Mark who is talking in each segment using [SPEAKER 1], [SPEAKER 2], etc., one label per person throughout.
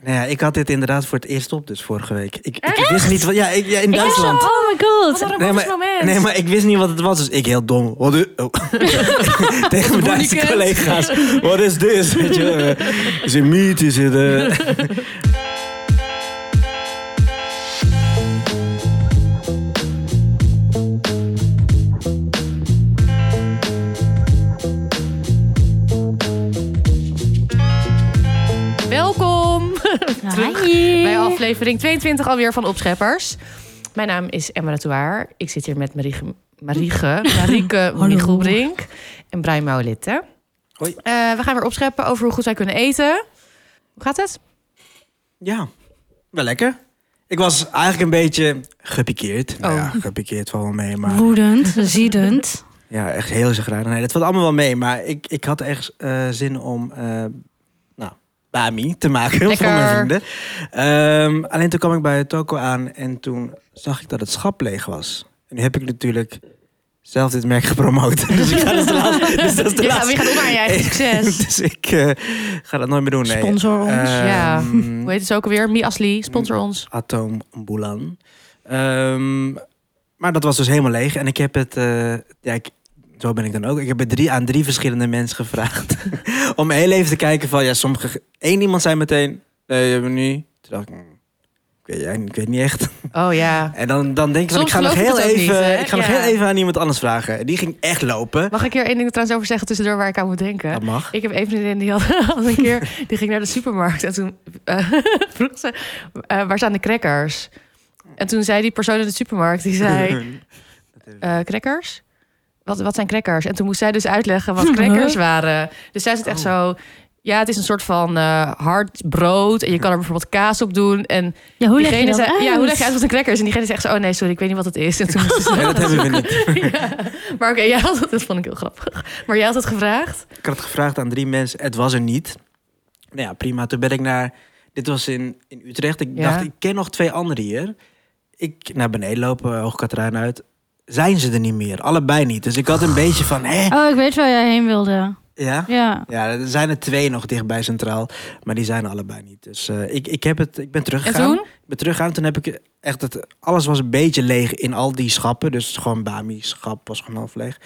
[SPEAKER 1] Nou ja, ik had dit inderdaad voor het eerst op, dus vorige week. Ik, ik wist niet wat. Ja, ik, ja in
[SPEAKER 2] Ik was zo,
[SPEAKER 1] Duitsland.
[SPEAKER 2] oh my god.
[SPEAKER 3] Wat
[SPEAKER 1] Nee
[SPEAKER 3] een romantisch
[SPEAKER 1] maar,
[SPEAKER 3] moment.
[SPEAKER 1] nee, maar ik wist niet wat het was, dus ik heel dom. Wat is- oh. Tegen mijn Duitse
[SPEAKER 3] Monikens.
[SPEAKER 1] collega's. Wat is dit? Weet je, eh, Is het meat? Is het... eh,
[SPEAKER 3] Welkom
[SPEAKER 2] Hi.
[SPEAKER 3] bij aflevering 22 alweer van Opscheppers. Mijn naam is Emma de Touwaar. Ik zit hier met Marieke, Marieke, Marieke Michelbrink en Brian Mouwlitte.
[SPEAKER 1] Hoi.
[SPEAKER 3] we gaan weer opscheppen over hoe goed wij kunnen eten. Hoe gaat het?
[SPEAKER 1] Ja, wel lekker. Ik was eigenlijk een beetje gepikeerd. Nou
[SPEAKER 3] Oh.
[SPEAKER 1] ja, gepikeerd valt wel mee, maar...
[SPEAKER 2] Woedend, ziedend.
[SPEAKER 1] Ja, echt heel zagrijnig. Nee, dat valt allemaal wel mee. Maar ik, ik had echt eh, zin om eh nou, bami te maken
[SPEAKER 3] Lekker.
[SPEAKER 1] van mijn vrienden. Ehm, alleen toen kwam ik bij het toko aan en toen zag ik dat het schap leeg was. En nu heb ik natuurlijk zelf dit merk gepromoot. Dus ik ga dat is de laatste. Dus dat is de
[SPEAKER 3] Je gaat-
[SPEAKER 1] laatste.
[SPEAKER 3] je gaat onder aan je eigen succes.
[SPEAKER 1] dus ik eh, ga dat nooit meer doen. Nee.
[SPEAKER 2] Sponsor ons.
[SPEAKER 1] Ehm,
[SPEAKER 3] Ja. Hoe heet het ook alweer? Mi Asli, sponsor ons.
[SPEAKER 1] Atoom Bulan. Ehm, maar dat was dus helemaal leeg. En ik heb het, eh, ja, ik, zo ben ik dan ook. Ik heb het drie, aan drie verschillende mensen gevraagd. om heel even te kijken van, ja, sommige... één iemand zei meteen, nee, hebben we niet. Toen dacht ik, "Hmm, ik weet, ja, ik weet niet echt.
[SPEAKER 3] Oh ja.
[SPEAKER 1] En dan, dan denk ik, van, ik
[SPEAKER 3] Soms
[SPEAKER 1] ga, nog
[SPEAKER 3] geloof ik
[SPEAKER 1] heel,
[SPEAKER 3] het ook
[SPEAKER 1] even,
[SPEAKER 3] niet, hè?
[SPEAKER 1] ik ga nog
[SPEAKER 3] Ja.
[SPEAKER 1] heel even aan iemand anders vragen. En Die ging echt lopen.
[SPEAKER 3] Mag ik hier één ding trouwens over zeggen tussendoor waar ik aan moet denken?
[SPEAKER 1] Dat mag.
[SPEAKER 3] Ik heb een vriendin die had, had een keer, die ging naar de supermarkt en toen eh, vroeg ze, eh, waar staan de crackers? En toen zei die persoon in de supermarkt, die zei, eh crackers? Wat, wat zijn crackers? En toen moest zij dus uitleggen wat crackers waren. Dus zij zit echt
[SPEAKER 1] Oh.
[SPEAKER 3] zo, ja, het is een soort van eh, hard brood en je kan er bijvoorbeeld kaas op doen. En
[SPEAKER 2] Ja, hoe leg je
[SPEAKER 3] diegene
[SPEAKER 2] dat
[SPEAKER 3] zei,
[SPEAKER 2] uit?
[SPEAKER 3] ja, hoe leg je uit wat een cracker is? En diegene zegt zo, oh nee, sorry, ik weet niet wat het is. En toen moest ze-
[SPEAKER 1] Nee, dat hebben we niet.
[SPEAKER 3] maar oké, jij had het, dat vond ik heel grappig. Maar jij had het gevraagd?
[SPEAKER 1] Ik had het gevraagd aan drie mensen. Het was er niet. Nou ja, prima. Toen ben ik naar... Dit was in, in Utrecht. Ik
[SPEAKER 3] Ja.
[SPEAKER 1] dacht, ik ken nog twee anderen hier. Ik naar beneden lopen, Hoogkaterijn uit. Zijn ze er niet meer? Allebei niet. Dus ik had een beetje van, hè?
[SPEAKER 2] Oh, ik weet waar jij heen wilde.
[SPEAKER 1] Ja?
[SPEAKER 2] Ja.
[SPEAKER 1] Ja, er zijn er twee nog dichtbij Centraal. Maar die zijn er allebei niet. Dus eh, ik, ik, heb het, ik ben
[SPEAKER 3] En
[SPEAKER 1] teruggegaan.
[SPEAKER 3] toen?
[SPEAKER 1] Ik ben teruggegaan. Toen heb ik echt... Het, alles was een beetje leeg in al die schappen. Dus gewoon Bami-schap was gewoon half leeg.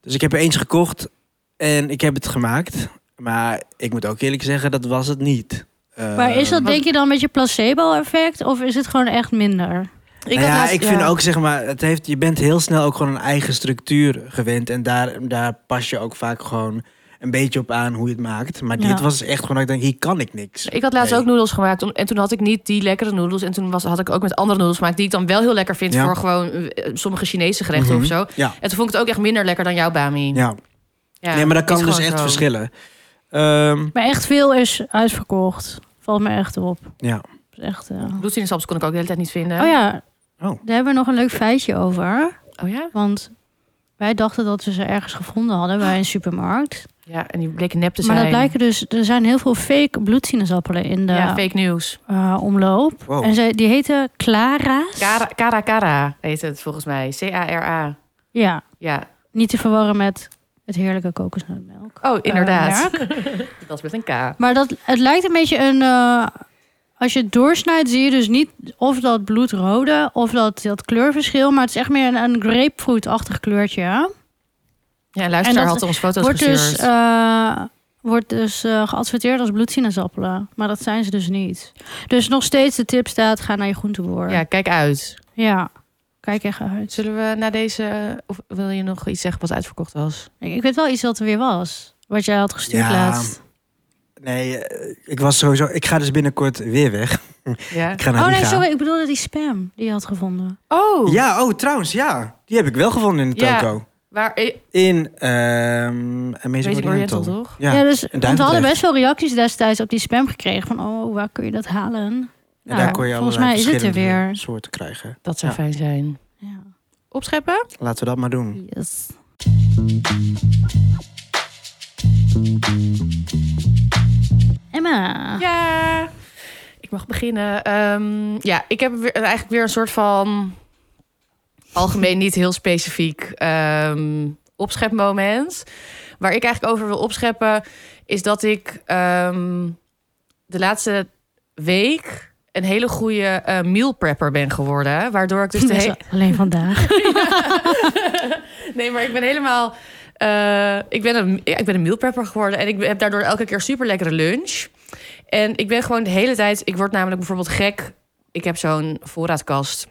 [SPEAKER 1] Dus ik heb er eentje gekocht. En ik heb het gemaakt. Maar ik moet ook eerlijk zeggen, dat was het niet. Eh,
[SPEAKER 2] Maar is dat denk je dan met je placebo-effect? Of is het gewoon echt minder?
[SPEAKER 1] nou
[SPEAKER 3] had
[SPEAKER 1] ja,
[SPEAKER 3] laatst-
[SPEAKER 1] ik vind ook, zeg maar, het heeft, je bent heel snel ook gewoon een eigen structuur gewend. En daar, daar pas je ook vaak gewoon een beetje op aan hoe je het maakt. Maar
[SPEAKER 2] Ja.
[SPEAKER 1] dit was dus echt gewoon, dat ik denk, hier kan ik niks.
[SPEAKER 3] Ik had laatst
[SPEAKER 1] Nee.
[SPEAKER 3] ook noedels gemaakt. om- En toen had ik niet die lekkere noedels. En toen was, had ik ook met andere noedels gemaakt. Die ik dan wel heel lekker vind
[SPEAKER 1] Ja.
[SPEAKER 3] voor gewoon eh, sommige Chinese gerechten
[SPEAKER 1] Mhm.
[SPEAKER 3] of zo.
[SPEAKER 1] Ja.
[SPEAKER 3] En toen vond ik het ook echt minder lekker dan jouw bami.
[SPEAKER 1] Ja,
[SPEAKER 3] Ja,
[SPEAKER 1] nee, maar dat
[SPEAKER 3] is
[SPEAKER 1] kan dus
[SPEAKER 3] gewoon
[SPEAKER 1] echt
[SPEAKER 3] zo.
[SPEAKER 1] verschillen. Ehm,
[SPEAKER 2] Maar echt veel is uitverkocht. Valt me echt op.
[SPEAKER 1] ja.
[SPEAKER 2] Is Echt, eh.
[SPEAKER 3] Bloedsinaasappels kon ik ook de hele tijd niet vinden.
[SPEAKER 2] Oh ja,
[SPEAKER 1] Oh.
[SPEAKER 2] daar hebben we nog een leuk feitje over.
[SPEAKER 3] Oh ja?
[SPEAKER 2] Want wij dachten dat we ze ergens gevonden hadden bij een supermarkt.
[SPEAKER 3] Ja, en die bleken nep te
[SPEAKER 2] Maar
[SPEAKER 3] zijn.
[SPEAKER 2] dat blijken dus, er zijn heel veel fake bloedsinaasappelen in de
[SPEAKER 3] Ja, fake nieuws.
[SPEAKER 2] eh, omloop.
[SPEAKER 1] Wow.
[SPEAKER 2] En zij, die heten Clara's.
[SPEAKER 3] Cara, cara Cara heet het volgens mij. C-A-R-A.
[SPEAKER 2] Ja,
[SPEAKER 3] Ja.
[SPEAKER 2] niet te verwarren met het heerlijke kokosnootmelk.
[SPEAKER 3] Oh, inderdaad.
[SPEAKER 2] Eh, merk.
[SPEAKER 3] dat is met een K.
[SPEAKER 2] Maar dat, het lijkt een beetje een... eh, als je het doorsnijdt zie je dus niet of dat bloedrode of dat, dat kleurverschil. Maar het is echt meer een, een grapefruitachtig kleurtje.
[SPEAKER 3] Ja, een luisteraar
[SPEAKER 2] En dat
[SPEAKER 3] had ons foto's
[SPEAKER 2] wordt,
[SPEAKER 3] gestuurd.
[SPEAKER 2] dus, eh, wordt dus eh, geadverteerd als bloedsinaasappelen. Maar dat zijn ze dus niet. Dus nog steeds de tip staat, ga naar je groenteboer.
[SPEAKER 3] Ja, kijk uit.
[SPEAKER 2] Ja, kijk echt uit.
[SPEAKER 3] eh, Zullen we na deze... eh, Of wil je nog iets zeggen wat uitverkocht was?
[SPEAKER 2] Ik, ik weet wel iets wat er weer was. Wat jij had gestuurd
[SPEAKER 1] Ja.
[SPEAKER 2] laatst.
[SPEAKER 1] Nee, eh, ik was sowieso. Ik ga dus binnenkort weer weg.
[SPEAKER 3] Ja.
[SPEAKER 1] Ik Nou, ga naar
[SPEAKER 2] Oh nee,
[SPEAKER 1] Riga.
[SPEAKER 2] sorry. Ik bedoelde die spam die je had gevonden.
[SPEAKER 3] Oh!
[SPEAKER 1] Ja, oh trouwens, ja. Die heb ik wel gevonden in de
[SPEAKER 3] Ja.
[SPEAKER 1] toko.
[SPEAKER 3] Waar, eh,
[SPEAKER 1] In ehm Amazing
[SPEAKER 3] Amazing
[SPEAKER 1] Oriental.
[SPEAKER 3] Oriental, toch?
[SPEAKER 1] Ja.
[SPEAKER 2] Ja, dus want we hadden
[SPEAKER 1] Duivendrecht.
[SPEAKER 2] best wel reacties destijds op die spam gekregen. Van, oh, waar kun je dat halen?
[SPEAKER 1] En
[SPEAKER 2] Nou,
[SPEAKER 1] daar kon je
[SPEAKER 2] volgens
[SPEAKER 1] allerlei
[SPEAKER 2] mij is het er
[SPEAKER 1] verschillende
[SPEAKER 2] weer.
[SPEAKER 1] soorten krijgen.
[SPEAKER 3] Dat zou
[SPEAKER 1] Ja.
[SPEAKER 3] fijn zijn.
[SPEAKER 2] Ja.
[SPEAKER 3] Opscheppen?
[SPEAKER 1] Laten we dat maar doen.
[SPEAKER 2] Yes. Emma.
[SPEAKER 3] Ja. Ik mag beginnen. Ehm, ja, ik heb weer, eigenlijk weer een soort van algemeen niet heel specifiek ehm, opschepmoment. Waar ik eigenlijk over wil opscheppen, is dat ik ehm, de laatste week een hele goede eh, meal prepper ben geworden. Waardoor ik dus de
[SPEAKER 2] Dat is
[SPEAKER 3] hele...
[SPEAKER 2] Alleen vandaag.
[SPEAKER 3] nee, maar ik ben helemaal... eh, ik, ben een, ja, ik ben een meal prepper geworden. En ik heb daardoor elke keer super lekkere lunch. En ik ben gewoon de hele tijd... Ik word namelijk bijvoorbeeld gek. Ik heb zo'n voorraadkast.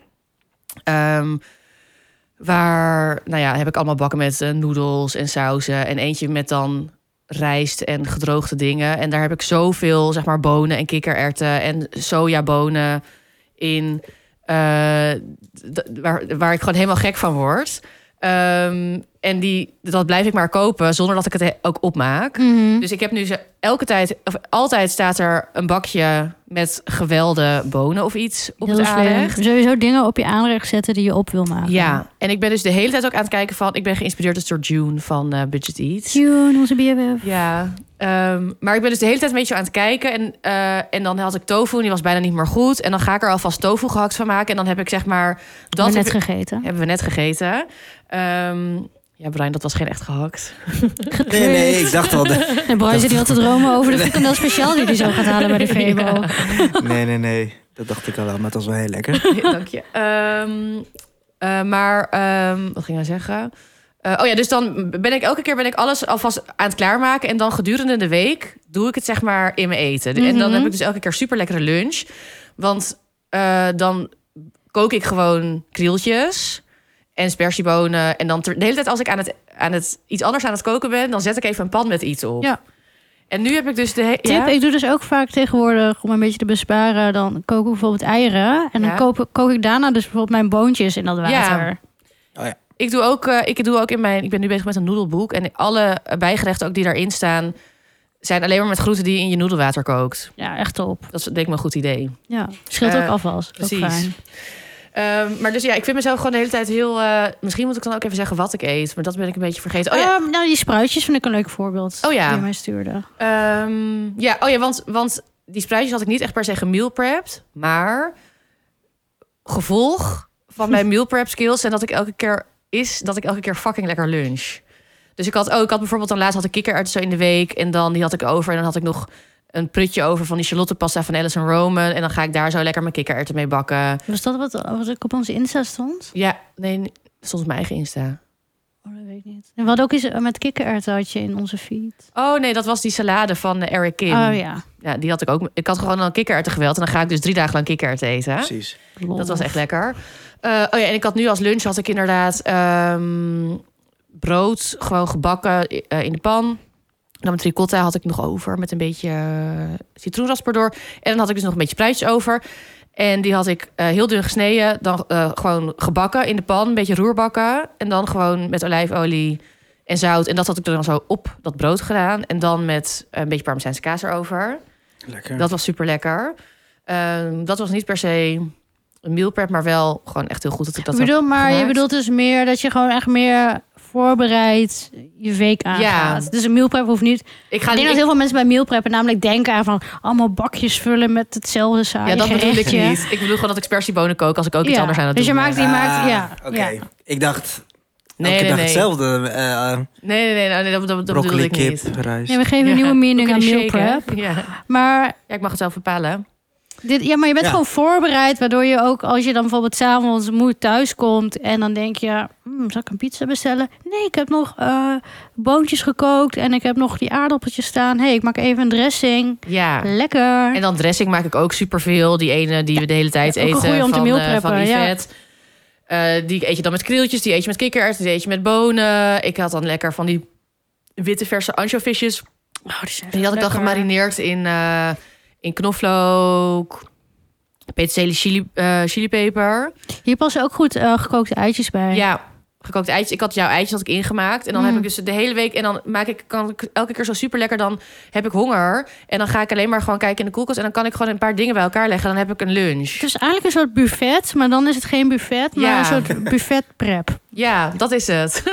[SPEAKER 3] ehm, waar, nou ja, heb ik allemaal bakken met eh, noedels en sauzen. En eentje met dan rijst en gedroogde dingen. En daar heb ik zoveel, zeg maar, bonen en kikkererwten en sojabonen in. eh, d- waar, waar ik gewoon helemaal gek van word. Ehm, en die, dat blijf ik maar kopen zonder dat ik het he- ook opmaak.
[SPEAKER 2] Mhm.
[SPEAKER 3] Dus ik heb nu ze elke tijd, of altijd staat er een bakje met gewelde bonen of iets op
[SPEAKER 2] Heel
[SPEAKER 3] het
[SPEAKER 2] slim.
[SPEAKER 3] aanrecht.
[SPEAKER 2] Sowieso dingen op je aanrecht zetten die je op wil maken.
[SPEAKER 3] Ja, en ik ben dus de hele tijd ook aan het kijken van... Ik ben geïnspireerd dus door June van eh, Budget Eats.
[SPEAKER 2] June, onze BFF.
[SPEAKER 3] Ja, ehm, maar ik ben dus de hele tijd een beetje aan het kijken. En, eh, en dan had ik tofu en die was bijna niet meer goed. En dan ga ik er alvast tofu gehakt van maken. En dan heb ik zeg maar... Dat
[SPEAKER 2] Dat
[SPEAKER 3] heb
[SPEAKER 2] net
[SPEAKER 3] ik-
[SPEAKER 2] gegeten.
[SPEAKER 3] hebben we net gegeten. Ehm, ja, Brian, dat was geen echt gehakt.
[SPEAKER 1] Nee, nee, ik dacht al. de-
[SPEAKER 2] En Brian zit nu al te dromen over de frikandel speciaal die hij zo gaat halen bij de Febo.
[SPEAKER 1] Nee, nee, nee. Dat dacht ik al wel, maar het was wel heel lekker.
[SPEAKER 3] Dank je. Ehm, eh, maar, ehm, wat ging hij zeggen? Eh, oh ja, dus dan ben ik elke keer ben ik alles alvast aan het klaarmaken. En dan gedurende de week doe ik het zeg maar in mijn eten. En dan
[SPEAKER 2] Mhm.
[SPEAKER 3] heb ik dus elke keer super lekkere lunch. Want eh, dan kook ik gewoon krieltjes en spersiebonen. En dan ter- de hele tijd als ik aan het, aan het iets anders aan het koken ben... dan zet ik even een pan met iets op.
[SPEAKER 2] Ja.
[SPEAKER 3] En nu heb ik dus de... he-
[SPEAKER 2] Tip, ik doe dus ook vaak tegenwoordig om een beetje te besparen. Dan kook ik bijvoorbeeld eieren. En dan
[SPEAKER 3] Ja.
[SPEAKER 2] koop, kook ik daarna dus bijvoorbeeld mijn boontjes in dat water.
[SPEAKER 3] Ik doe ook, eh, ik doe ook in mijn. Ik ben nu bezig met een noedelboek. En alle eh, bijgerechten ook die daarin staan. zijn alleen maar met groenten die je in je noedelwater kookt.
[SPEAKER 2] Ja, echt top.
[SPEAKER 3] Dat is denk ik me een goed idee.
[SPEAKER 2] Ja, scheelt
[SPEAKER 3] Eh,
[SPEAKER 2] ook afwas. Precies. Ook
[SPEAKER 3] precies.
[SPEAKER 2] fijn.
[SPEAKER 3] Ehm, maar dus ja, ik vind mezelf gewoon de hele tijd heel. eh, misschien moet ik dan ook even zeggen wat ik eet. Maar dat ben ik een beetje vergeten. Oh ja,
[SPEAKER 2] Ehm, nou, die spruitjes vind ik een leuk voorbeeld.
[SPEAKER 3] Oh ja.
[SPEAKER 2] Die je mij stuurde.
[SPEAKER 3] Ehm, ja, oh ja want, want die spruitjes had ik niet echt per se gemeal prepped. Maar gevolg van mijn meal prep skills en dat ik elke keer is dat ik elke keer fucking lekker lunch. Dus ik had, oh, ik had bijvoorbeeld dan laatst had ik kikkererwten zo in de week en dan die had ik over en dan had ik nog een prutje over van die charlottepasta van Alice en Roman en dan ga ik daar zo lekker mijn kikkererwten mee bakken.
[SPEAKER 2] Was dat wat, wat ik op onze Insta stond?
[SPEAKER 3] Ja, nee, nee, stond op mijn eigen Insta.
[SPEAKER 2] Oh, dat weet ik niet. En we hadden ook eens eh, met kikkererwten had je in onze feed.
[SPEAKER 3] Oh nee, dat was die salade van eh, Eric Kim.
[SPEAKER 2] Oh ja.
[SPEAKER 3] ja, die had ik ook. Ik had gewoon al kikkererwten geweld en dan ga ik dus drie dagen lang kikkererwten eten.
[SPEAKER 1] Precies.
[SPEAKER 2] Lol.
[SPEAKER 3] Dat was echt lekker. Eh, oh ja, en ik had nu als lunch had ik inderdaad ehm, brood gewoon gebakken eh, in de pan. Dan mijn ricotta had ik nog over met een beetje eh, citroenrasper door. En dan had ik dus nog een beetje spruitjes over. En die had ik eh, heel dun gesneden. Dan eh, gewoon gebakken in de pan, een beetje roerbakken. En dan gewoon met olijfolie en zout. En dat had ik er dan zo op dat brood gedaan. En dan met een beetje parmezaanse kaas erover.
[SPEAKER 1] Lekker.
[SPEAKER 3] Dat was super lekker. Ehm, dat was niet per se een meal prep, maar wel gewoon echt heel goed dat ik dat
[SPEAKER 2] ik bedoel, maar je
[SPEAKER 3] gemaakt.
[SPEAKER 2] bedoelt dus meer dat je gewoon echt meer voorbereid je week aangaat. Dus een meal prep hoeft niet.
[SPEAKER 3] Ik
[SPEAKER 2] ik
[SPEAKER 3] ga
[SPEAKER 2] denk dat
[SPEAKER 3] ik-
[SPEAKER 2] heel veel mensen bij meal preppen namelijk denken aan van allemaal bakjes vullen met hetzelfde saai
[SPEAKER 3] ja, dat bedoel ik
[SPEAKER 2] gerechtje.
[SPEAKER 3] niet. Ik bedoel gewoon dat ik spersiebonen kook als ik ook iets
[SPEAKER 2] Ja,
[SPEAKER 3] anders aan het
[SPEAKER 2] dus
[SPEAKER 3] doen
[SPEAKER 2] je
[SPEAKER 3] ben.
[SPEAKER 2] maakt, je maakt, ja.
[SPEAKER 1] Ah, Oké.
[SPEAKER 2] ja.
[SPEAKER 1] Ik dacht,
[SPEAKER 3] Nee,
[SPEAKER 1] elke
[SPEAKER 3] nee,
[SPEAKER 1] dag
[SPEAKER 3] nee.
[SPEAKER 1] hetzelfde. eh, eh,
[SPEAKER 3] Nee, nee, nee, nee, nee, dat, dat, dat bedoel
[SPEAKER 1] broccoli,
[SPEAKER 3] ik
[SPEAKER 1] kip,
[SPEAKER 3] niet.
[SPEAKER 1] rijst.
[SPEAKER 2] Nee, we geven
[SPEAKER 3] Ja.
[SPEAKER 2] een nieuwe meaning
[SPEAKER 3] Ook
[SPEAKER 2] aan
[SPEAKER 3] in de
[SPEAKER 2] meal
[SPEAKER 3] shake, hè?
[SPEAKER 2] prep.
[SPEAKER 3] Ja.
[SPEAKER 2] Maar
[SPEAKER 3] ja, ik mag het zelf bepalen.
[SPEAKER 2] Dit, ja, maar je bent
[SPEAKER 1] Ja.
[SPEAKER 2] gewoon voorbereid, waardoor je ook als je dan bijvoorbeeld s'avonds moe thuis komt en dan denk je, "Hmm, zal ik een pizza bestellen? Nee, ik heb nog eh, boontjes gekookt en ik heb nog die aardappeltjes staan. Hé, hey, ik maak even een dressing.
[SPEAKER 3] Ja.
[SPEAKER 2] Lekker.
[SPEAKER 3] En dan dressing maak ik ook superveel. Die ene die we de hele tijd
[SPEAKER 2] Ja, ook een
[SPEAKER 3] eten
[SPEAKER 2] goeie om te
[SPEAKER 3] van,
[SPEAKER 2] meal
[SPEAKER 3] eh, van
[SPEAKER 2] preppen, ja.
[SPEAKER 3] Yvette. Eh, die eet je dan met krieltjes, die eet je met kikkererwten, die eet je met bonen. Ik had dan lekker van die witte verse anchovisjes.
[SPEAKER 2] Oh, die zijn
[SPEAKER 3] En die had ik dan
[SPEAKER 2] lekker.
[SPEAKER 3] gemarineerd in, eh, in knoflook, peterselie, chili, eh chilipeper.
[SPEAKER 2] Hier passen ook goed eh, gekookte eitjes bij.
[SPEAKER 3] Ja, gekookt eitjes. Ik had jouw eitjes had ik ingemaakt. En dan
[SPEAKER 2] Mm.
[SPEAKER 3] heb ik dus de hele week... En dan maak ik, kan ik elke keer zo super lekker. Dan heb ik honger. En dan ga ik alleen maar gewoon kijken in de koelkast. En dan kan ik gewoon een paar dingen bij elkaar leggen. Dan heb ik een lunch.
[SPEAKER 2] Het is eigenlijk een soort buffet, maar dan is het geen buffet, maar
[SPEAKER 3] Ja.
[SPEAKER 2] een soort buffet prep.
[SPEAKER 3] Ja, dat is het.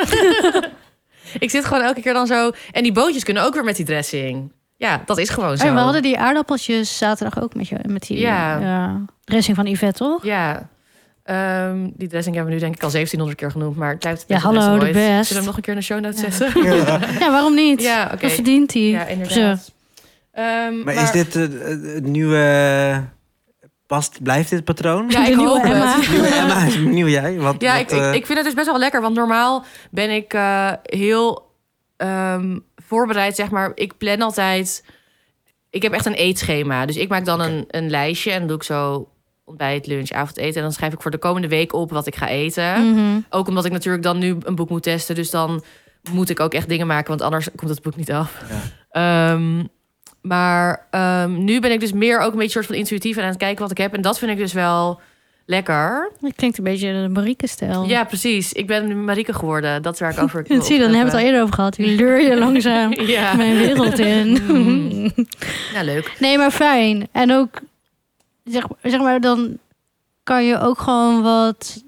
[SPEAKER 3] ik zit gewoon elke keer dan zo... En die bootjes kunnen ook weer met die dressing. Ja, dat is gewoon zo.
[SPEAKER 2] En we hadden die aardappeltjes zaterdag ook met, je, met die
[SPEAKER 3] Ja.
[SPEAKER 2] eh, dressing van Yvette, toch?
[SPEAKER 3] Ja. Ehm, die dressing hebben we nu denk ik al 1700 keer genoemd, maar het blijft het
[SPEAKER 2] Ja,
[SPEAKER 3] beste
[SPEAKER 2] hallo,
[SPEAKER 3] dress
[SPEAKER 2] de
[SPEAKER 3] ooit. Zullen
[SPEAKER 2] best.
[SPEAKER 3] we hem nog een keer in de show notes zetten?
[SPEAKER 2] Ja, waarom niet?
[SPEAKER 3] Ja, oké.
[SPEAKER 2] Dat verdient hij.
[SPEAKER 3] Ja, inderdaad. Ehm,
[SPEAKER 1] Maar, is dit eh, eh, het nieuwe... eh, Past, blijft dit patroon?
[SPEAKER 3] Ja, ik
[SPEAKER 2] De nieuwe
[SPEAKER 3] hoop het.
[SPEAKER 2] Emma.
[SPEAKER 1] Nieuwe Emma, nieuw jij? Wat,
[SPEAKER 3] Ja,
[SPEAKER 1] wat,
[SPEAKER 3] ik, ik,
[SPEAKER 1] eh,
[SPEAKER 3] ik vind het dus best wel lekker. Want normaal ben ik eh, heel ehm, voorbereid, zeg maar. Ik plan altijd... Ik heb echt een eetschema. Dus ik maak dan een, een lijstje en doe ik zo ontbijt, lunch, avondeten. En dan schrijf ik voor de komende week op wat ik ga eten.
[SPEAKER 2] Mhm.
[SPEAKER 3] Ook omdat ik natuurlijk dan nu een boek moet testen. Dus dan moet ik ook echt dingen maken, want anders komt het boek niet af. Ehm, maar ehm, nu ben ik dus meer ook een beetje soort van intuïtief en aan het kijken wat ik heb. En dat vind ik dus wel lekker.
[SPEAKER 2] Dat klinkt een beetje de Marieke-stijl.
[SPEAKER 3] Ja, precies. Ik ben nu Marieke geworden. Dat is waar ik over wil
[SPEAKER 2] Zie, je, dan hebben we het al eerder over gehad. Die leur je langzaam
[SPEAKER 3] Ja. Mm.
[SPEAKER 2] mijn wereld in.
[SPEAKER 3] ja, leuk.
[SPEAKER 2] Nee, maar fijn. En ook, zeg, zeg maar, dan kan je ook gewoon wat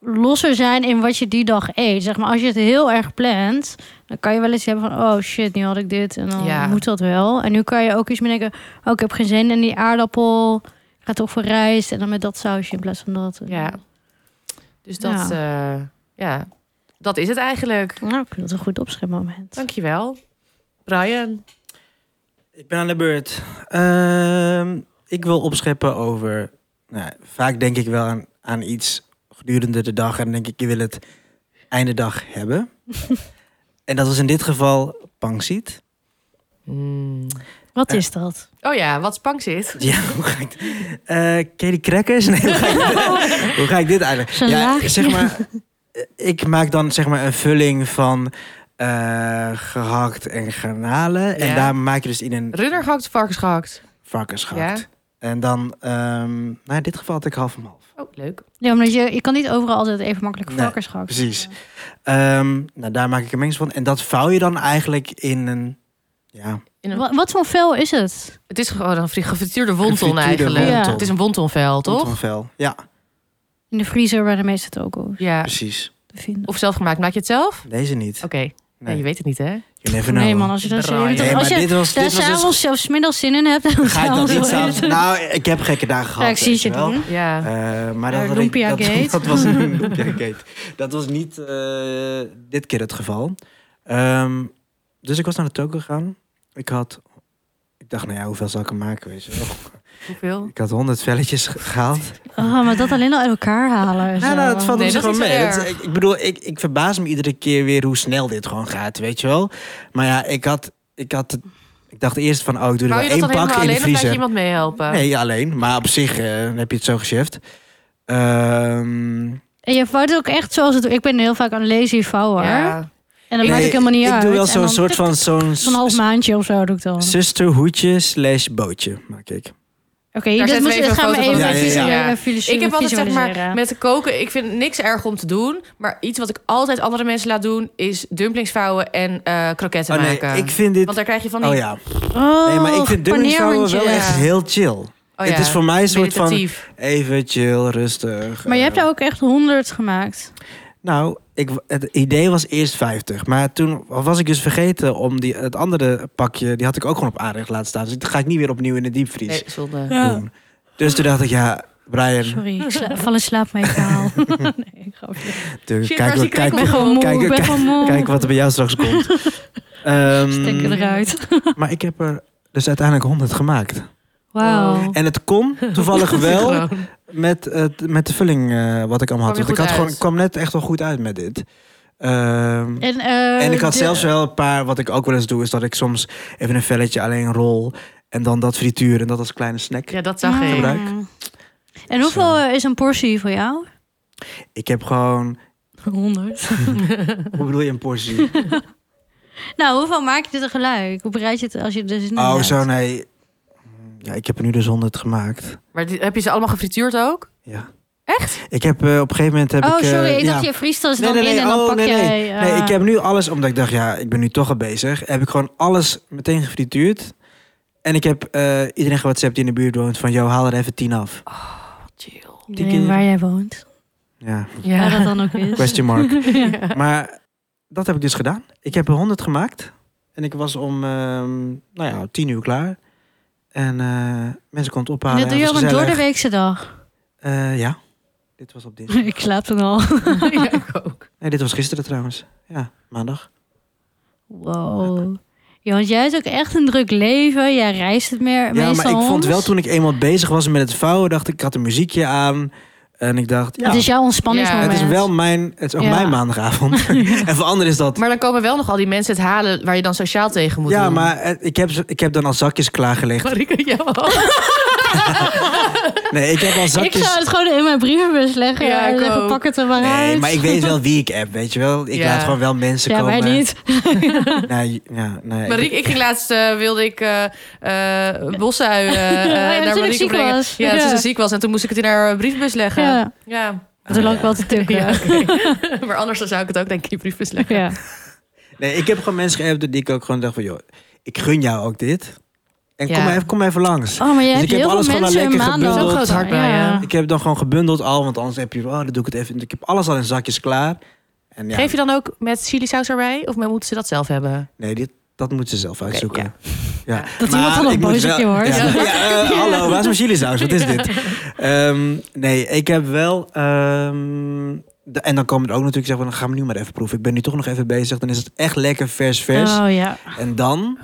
[SPEAKER 2] losser zijn in wat je die dag eet. Zeg maar, als je het heel erg plant, dan kan je wel eens hebben van... oh shit, nu had ik dit en dan
[SPEAKER 3] Ja.
[SPEAKER 2] moet dat wel. En nu kan je ook iets meer denken... oh, ik heb geen zin in die aardappel. Ik ga toch voor rijst en dan met dat sausje in plaats van dat.
[SPEAKER 3] Ja. Dus dat, eh, ja, dat is het eigenlijk.
[SPEAKER 2] Nou, ik vind dat een goed opschrijfmoment.
[SPEAKER 3] Dankjewel. Brian.
[SPEAKER 1] Ik ben aan de beurt. Ehm, ik wil opscheppen over. Nou, ja, vaak denk ik wel aan, aan iets gedurende de dag. En dan denk ik, je wil het einde dag hebben. en dat was in dit geval pangsiet.
[SPEAKER 2] Wat
[SPEAKER 1] Eh.
[SPEAKER 2] is dat?
[SPEAKER 3] Oh ja, wat spank zit.
[SPEAKER 1] Ja, hoe ga ik. Eh, ken je die crackers? Nee, hoe ga ik dit, hoe ga ik dit eigenlijk?
[SPEAKER 2] Zo'n
[SPEAKER 1] ja,
[SPEAKER 2] laagje.
[SPEAKER 1] zeg maar. eh, Ik maak dan zeg maar een vulling van. eh, gehakt en garnalen.
[SPEAKER 3] Ja.
[SPEAKER 1] En daar maak je dus in een
[SPEAKER 3] Runner gehakt of varkens gehakt?
[SPEAKER 1] varkens
[SPEAKER 3] Ja.
[SPEAKER 1] gehakt. En dan, ehm, nou in dit geval had ik half om half.
[SPEAKER 3] Oh, leuk.
[SPEAKER 2] Ja, omdat je, je kan niet overal altijd even makkelijk
[SPEAKER 1] Nee,
[SPEAKER 2] varkens gehakt.
[SPEAKER 1] Precies. Ehm, nou, daar maak ik een mengsel van. En dat vouw je dan eigenlijk in een... Ja,
[SPEAKER 3] In een-
[SPEAKER 2] Wat, wat voor vel is het?
[SPEAKER 3] Het is gewoon een fri- gefrituurde wonton
[SPEAKER 1] Gefrituurde
[SPEAKER 3] eigenlijk.
[SPEAKER 2] wonton.
[SPEAKER 3] Het is een wontonvel, toch?
[SPEAKER 1] tontonvel. Ja,
[SPEAKER 2] In de vriezer waar de meeste het ook over
[SPEAKER 3] Ja.
[SPEAKER 1] precies.
[SPEAKER 2] te vinden.
[SPEAKER 3] Of zelfgemaakt. Maak je het zelf? Oké.
[SPEAKER 1] Deze niet.
[SPEAKER 3] Nee, je
[SPEAKER 1] Nee,
[SPEAKER 3] weet het niet, hè?
[SPEAKER 1] you never know.
[SPEAKER 2] Oh, Nee man, als je dat
[SPEAKER 3] Draaien.
[SPEAKER 1] nou Nee,
[SPEAKER 2] zin
[SPEAKER 1] maar
[SPEAKER 2] Als je
[SPEAKER 1] dit was,
[SPEAKER 2] daar
[SPEAKER 1] dit was dus...
[SPEAKER 2] s'avonds zelfs middags zin in hebt, dan
[SPEAKER 1] Ga ik dat
[SPEAKER 2] s'avonds
[SPEAKER 1] niet
[SPEAKER 2] wel
[SPEAKER 1] samen...
[SPEAKER 2] eten.
[SPEAKER 1] Nou, ik heb gekke dagen gehad.
[SPEAKER 2] Ja, ik zie het je
[SPEAKER 1] weet wel.
[SPEAKER 2] doen.
[SPEAKER 3] Ja.
[SPEAKER 1] Eh, maar
[SPEAKER 2] Eh,
[SPEAKER 1] dat, had ik- dat,
[SPEAKER 2] Lumpia-gate.
[SPEAKER 1] dat was een Lumpia-gate. Dat was niet eh, dit keer het geval. Ehm, dus ik was naar de toko gegaan. Ik had... Ik dacht, nou ja, hoeveel zal ik er maken? Weet je wel?
[SPEAKER 3] Hoeveel?
[SPEAKER 1] Ik had 100 velletjes ge- gehaald.
[SPEAKER 2] Oh, maar dat alleen al uit elkaar halen.
[SPEAKER 1] Nou, nou, het valt
[SPEAKER 3] Nee,
[SPEAKER 1] op zich
[SPEAKER 3] dat
[SPEAKER 1] wel
[SPEAKER 3] is niet
[SPEAKER 1] mee.
[SPEAKER 3] zo
[SPEAKER 1] Het-
[SPEAKER 3] erg.
[SPEAKER 1] ik, ik bedoel, ik, ik verbaas me iedere keer weer hoe snel dit gewoon gaat, weet je wel. Maar ja, ik had, ik had, het- ik dacht eerst van, oh, ik doe er
[SPEAKER 3] Wou
[SPEAKER 1] wel
[SPEAKER 3] je dat
[SPEAKER 1] één
[SPEAKER 3] dan
[SPEAKER 1] pak
[SPEAKER 3] helemaal
[SPEAKER 1] in de
[SPEAKER 3] alleen of laat je
[SPEAKER 1] vriezer.
[SPEAKER 3] iemand meehelpen?
[SPEAKER 1] Nee, alleen. Maar op zich eh, heb je het zo gecheft. Ehm,
[SPEAKER 2] En je vouwt het ook echt zoals het... Ik ben heel vaak een lazy vouwer.
[SPEAKER 3] Ja.
[SPEAKER 2] En dat
[SPEAKER 1] nee,
[SPEAKER 2] maakt ook helemaal niet
[SPEAKER 1] ik,
[SPEAKER 2] uit.
[SPEAKER 1] doe wel
[SPEAKER 2] En
[SPEAKER 1] zo'n
[SPEAKER 2] dan
[SPEAKER 1] soort
[SPEAKER 2] tik,
[SPEAKER 1] van zo'n
[SPEAKER 2] Zo'n half maandje of zo doe ik dan.
[SPEAKER 1] zusterhoedje slash bootje, maak ik.
[SPEAKER 3] Daar
[SPEAKER 2] Oké, dat
[SPEAKER 3] zetten
[SPEAKER 2] moet-
[SPEAKER 3] we
[SPEAKER 2] dat
[SPEAKER 3] even
[SPEAKER 2] gaan we
[SPEAKER 3] een foto
[SPEAKER 2] even
[SPEAKER 1] van. Ja, ja, ja.
[SPEAKER 2] visualiseren.
[SPEAKER 3] Ik heb altijd, zeg maar,
[SPEAKER 2] visualiseren.
[SPEAKER 3] met koken, ik vind niks erg om te doen. Maar iets wat ik altijd andere mensen laat doen, is dumplings vouwen en eh kroketten
[SPEAKER 1] Oh nee,
[SPEAKER 3] maken.
[SPEAKER 1] ik vind dit...
[SPEAKER 3] Want daar krijg je van die...
[SPEAKER 1] Oh ja.
[SPEAKER 2] Oh,
[SPEAKER 1] Nee, maar ik vind dumplingvouwen wel
[SPEAKER 2] paneermandje.
[SPEAKER 1] echt heel chill.
[SPEAKER 3] Oh ja,
[SPEAKER 1] Het is voor mij een soort van
[SPEAKER 3] meditatief.
[SPEAKER 1] even chill, rustig.
[SPEAKER 2] Maar je
[SPEAKER 1] eh,
[SPEAKER 2] hebt daar ook echt honderd gemaakt.
[SPEAKER 1] Nou, ik, het idee was eerst 50. Maar toen was ik dus vergeten om die, het andere pakje... die had ik ook gewoon op aanrecht laten staan. Dus dat ga ik niet weer opnieuw in de diepvries
[SPEAKER 3] Nee, zonde.
[SPEAKER 1] doen. Dus toen dacht ik, ja, Brian...
[SPEAKER 2] Oh, Sorry, ik sla- val in slaap met je verhaal. nee, ik grapje.
[SPEAKER 1] Tuur,
[SPEAKER 3] Shit,
[SPEAKER 1] kijk,
[SPEAKER 3] waar is die
[SPEAKER 1] kijk, kijk,
[SPEAKER 2] Ik ben
[SPEAKER 1] kijk,
[SPEAKER 3] krekel?
[SPEAKER 2] gewoon moe,
[SPEAKER 1] Kijk,
[SPEAKER 2] ik ben
[SPEAKER 1] kijk,
[SPEAKER 2] gewoon moe.
[SPEAKER 1] wat er bij jou straks komt. Ehm,
[SPEAKER 2] Stekken eruit.
[SPEAKER 1] maar ik heb er dus uiteindelijk 100 gemaakt.
[SPEAKER 2] Wauw.
[SPEAKER 1] En het kon toevallig wel
[SPEAKER 3] Gewoon.
[SPEAKER 1] met, het, met de vulling eh, wat ik allemaal had.
[SPEAKER 3] Kwam
[SPEAKER 1] Want
[SPEAKER 3] je
[SPEAKER 1] ik had
[SPEAKER 3] goed
[SPEAKER 1] gewoon,
[SPEAKER 3] uit?
[SPEAKER 1] ik kwam net echt wel goed uit met dit. Ehm,
[SPEAKER 2] En, eh,
[SPEAKER 1] En ik had
[SPEAKER 2] de-
[SPEAKER 1] zelfs wel een paar, wat ik ook wel eens doe, is dat ik soms even een velletje alleen rol. En dan dat frituur en dat als kleine snack.
[SPEAKER 3] Ja, dat zag
[SPEAKER 2] Mm.
[SPEAKER 3] ik.
[SPEAKER 1] gebruik.
[SPEAKER 2] En hoeveel eh, is een portie voor jou?
[SPEAKER 1] Ik heb gewoon,
[SPEAKER 2] 100.
[SPEAKER 1] hoe bedoel je een portie?
[SPEAKER 2] nou, hoeveel maak je er tegelijk? Hoe bereid je het als je dus niet
[SPEAKER 1] oh,
[SPEAKER 2] maakt?
[SPEAKER 1] zo nee. Ja, ik heb er nu dus 100 gemaakt.
[SPEAKER 3] Maar die- heb je ze allemaal gefrituurd ook?
[SPEAKER 1] Ja.
[SPEAKER 3] Echt?
[SPEAKER 1] Ik heb eh, op een gegeven moment heb
[SPEAKER 2] Oh,
[SPEAKER 1] ik. eh,
[SPEAKER 2] sorry, ik
[SPEAKER 1] ja.
[SPEAKER 2] dacht je vriest dat
[SPEAKER 1] Nee,
[SPEAKER 2] dan
[SPEAKER 1] nee, nee,
[SPEAKER 2] in en dan
[SPEAKER 1] oh,
[SPEAKER 2] pak
[SPEAKER 1] nee,
[SPEAKER 2] jij... eh,
[SPEAKER 1] Nee, ik heb nu alles, omdat ik dacht, ja, ik ben nu toch al bezig. Heb ik gewoon alles meteen gefrituurd. En ik heb eh, iedereen gewhatsappt die in de buurt woont van, joh, haal er even 10 af.
[SPEAKER 3] Chill.
[SPEAKER 2] iedereen
[SPEAKER 1] die keer-
[SPEAKER 2] waar jij woont.
[SPEAKER 1] Ja,
[SPEAKER 2] Ja. Waar dat
[SPEAKER 3] Ja.
[SPEAKER 2] dan ook is.
[SPEAKER 1] question mark.
[SPEAKER 2] Ja.
[SPEAKER 1] Maar dat heb ik dus gedaan. Ik heb er 100 gemaakt. En ik was om ehm, nou ja, 10 uur klaar. En eh, mensen konden het
[SPEAKER 2] En
[SPEAKER 1] ophalen.
[SPEAKER 2] dat doe je
[SPEAKER 1] Het
[SPEAKER 2] op
[SPEAKER 1] was
[SPEAKER 2] een
[SPEAKER 1] gezellig.
[SPEAKER 2] doordeweekse dag.
[SPEAKER 1] Eh, ja, dit was op dinsdag.
[SPEAKER 2] ik slaap toen al.
[SPEAKER 3] Ja, ik ook.
[SPEAKER 1] Nee, dit was gisteren trouwens. Ja, maandag.
[SPEAKER 2] Wow. Ja, want jij is ook echt een druk leven. Jij reist het meer.
[SPEAKER 1] Ja, maar
[SPEAKER 2] meestal
[SPEAKER 1] ik vond
[SPEAKER 2] rond.
[SPEAKER 1] wel toen ik eenmaal bezig was met het vouwen, dacht ik, ik had een muziekje aan. En ik dacht, ja,
[SPEAKER 2] Het is jouw
[SPEAKER 3] Ja,
[SPEAKER 2] ontspanningsmoment.
[SPEAKER 1] het is wel mijn, het is ook
[SPEAKER 2] Ja.
[SPEAKER 1] mijn maandagavond. en voor anderen is dat.
[SPEAKER 3] Maar dan komen wel nog al die mensen het halen waar je dan sociaal tegen moet
[SPEAKER 1] ja,
[SPEAKER 3] doen.
[SPEAKER 1] maar eh, ik heb, ze- ik heb dan al zakjes klaargelegd.
[SPEAKER 3] Marika, ja.
[SPEAKER 1] Nee, ik heb al
[SPEAKER 2] Ik
[SPEAKER 1] zakjes.
[SPEAKER 2] zou het gewoon in mijn brievenbus leggen.
[SPEAKER 3] Ja,
[SPEAKER 2] Ja,
[SPEAKER 3] ik ook.
[SPEAKER 2] pak het er maar
[SPEAKER 1] Nee,
[SPEAKER 2] uit.
[SPEAKER 1] maar ik weet wel wie ik app, weet je wel. Ik
[SPEAKER 3] Ja.
[SPEAKER 1] laat gewoon wel mensen
[SPEAKER 2] ja,
[SPEAKER 1] komen.
[SPEAKER 2] wij niet.
[SPEAKER 1] Nee, ja, nee.
[SPEAKER 3] Marieke, ik ging laatst, eh, wilde ik eh eh Bossui eh, eh,
[SPEAKER 2] toen
[SPEAKER 3] naar
[SPEAKER 2] ik
[SPEAKER 3] Marieke
[SPEAKER 2] ziek
[SPEAKER 3] brengen.
[SPEAKER 2] was.
[SPEAKER 3] Ja, toen
[SPEAKER 2] Ja.
[SPEAKER 3] ze ziek was en toen moest ik het in haar eh, briefbus leggen. Ja.
[SPEAKER 2] Ja,
[SPEAKER 1] Ah,
[SPEAKER 2] toen lag ik wel te tukken.
[SPEAKER 3] Ja,
[SPEAKER 2] Ja. Dus
[SPEAKER 3] oké. maar anders dan zou ik het ook denk ik in je briefbus leggen.
[SPEAKER 1] Nee, ik heb gewoon mensen geappt die ik ook gewoon dacht van... joh, ik gun jou ook dit. En
[SPEAKER 3] Ja.
[SPEAKER 1] kom, maar even, kom maar even langs.
[SPEAKER 2] Oh, maar jij
[SPEAKER 1] Dus ik
[SPEAKER 2] hebt
[SPEAKER 1] heb
[SPEAKER 2] heel
[SPEAKER 1] alles
[SPEAKER 2] veel
[SPEAKER 1] gewoon
[SPEAKER 2] mensen in
[SPEAKER 1] lekker
[SPEAKER 2] maanden.
[SPEAKER 1] gebundeld.
[SPEAKER 3] Zo'n groot hart bij, ja.
[SPEAKER 1] Ik heb dan gewoon gebundeld al, want anders heb je... Oh, dan doe ik het even. Ik heb alles al in zakjes klaar. En ja,
[SPEAKER 3] Geef je dan ook met chilisaus erbij? Of moeten ze dat zelf hebben?
[SPEAKER 1] nee, dit, dat moeten ze zelf uitzoeken. ja.
[SPEAKER 2] Dat
[SPEAKER 1] Maar
[SPEAKER 2] iemand dan nog
[SPEAKER 1] ik moet
[SPEAKER 2] boos
[SPEAKER 1] wel-
[SPEAKER 2] op je wordt.
[SPEAKER 1] Ja,
[SPEAKER 2] Ja.
[SPEAKER 1] ja, eh, hallo, waar is mijn chilisaus? Wat is dit? Ehm, nee, ik heb wel... ehm, de- en dan komen er ook natuurlijk zeggen, van, dan gaan we nu maar even proeven. Ik ben nu toch nog even bezig. Dan is het echt lekker vers, vers.
[SPEAKER 2] Oh ja.
[SPEAKER 1] En dan,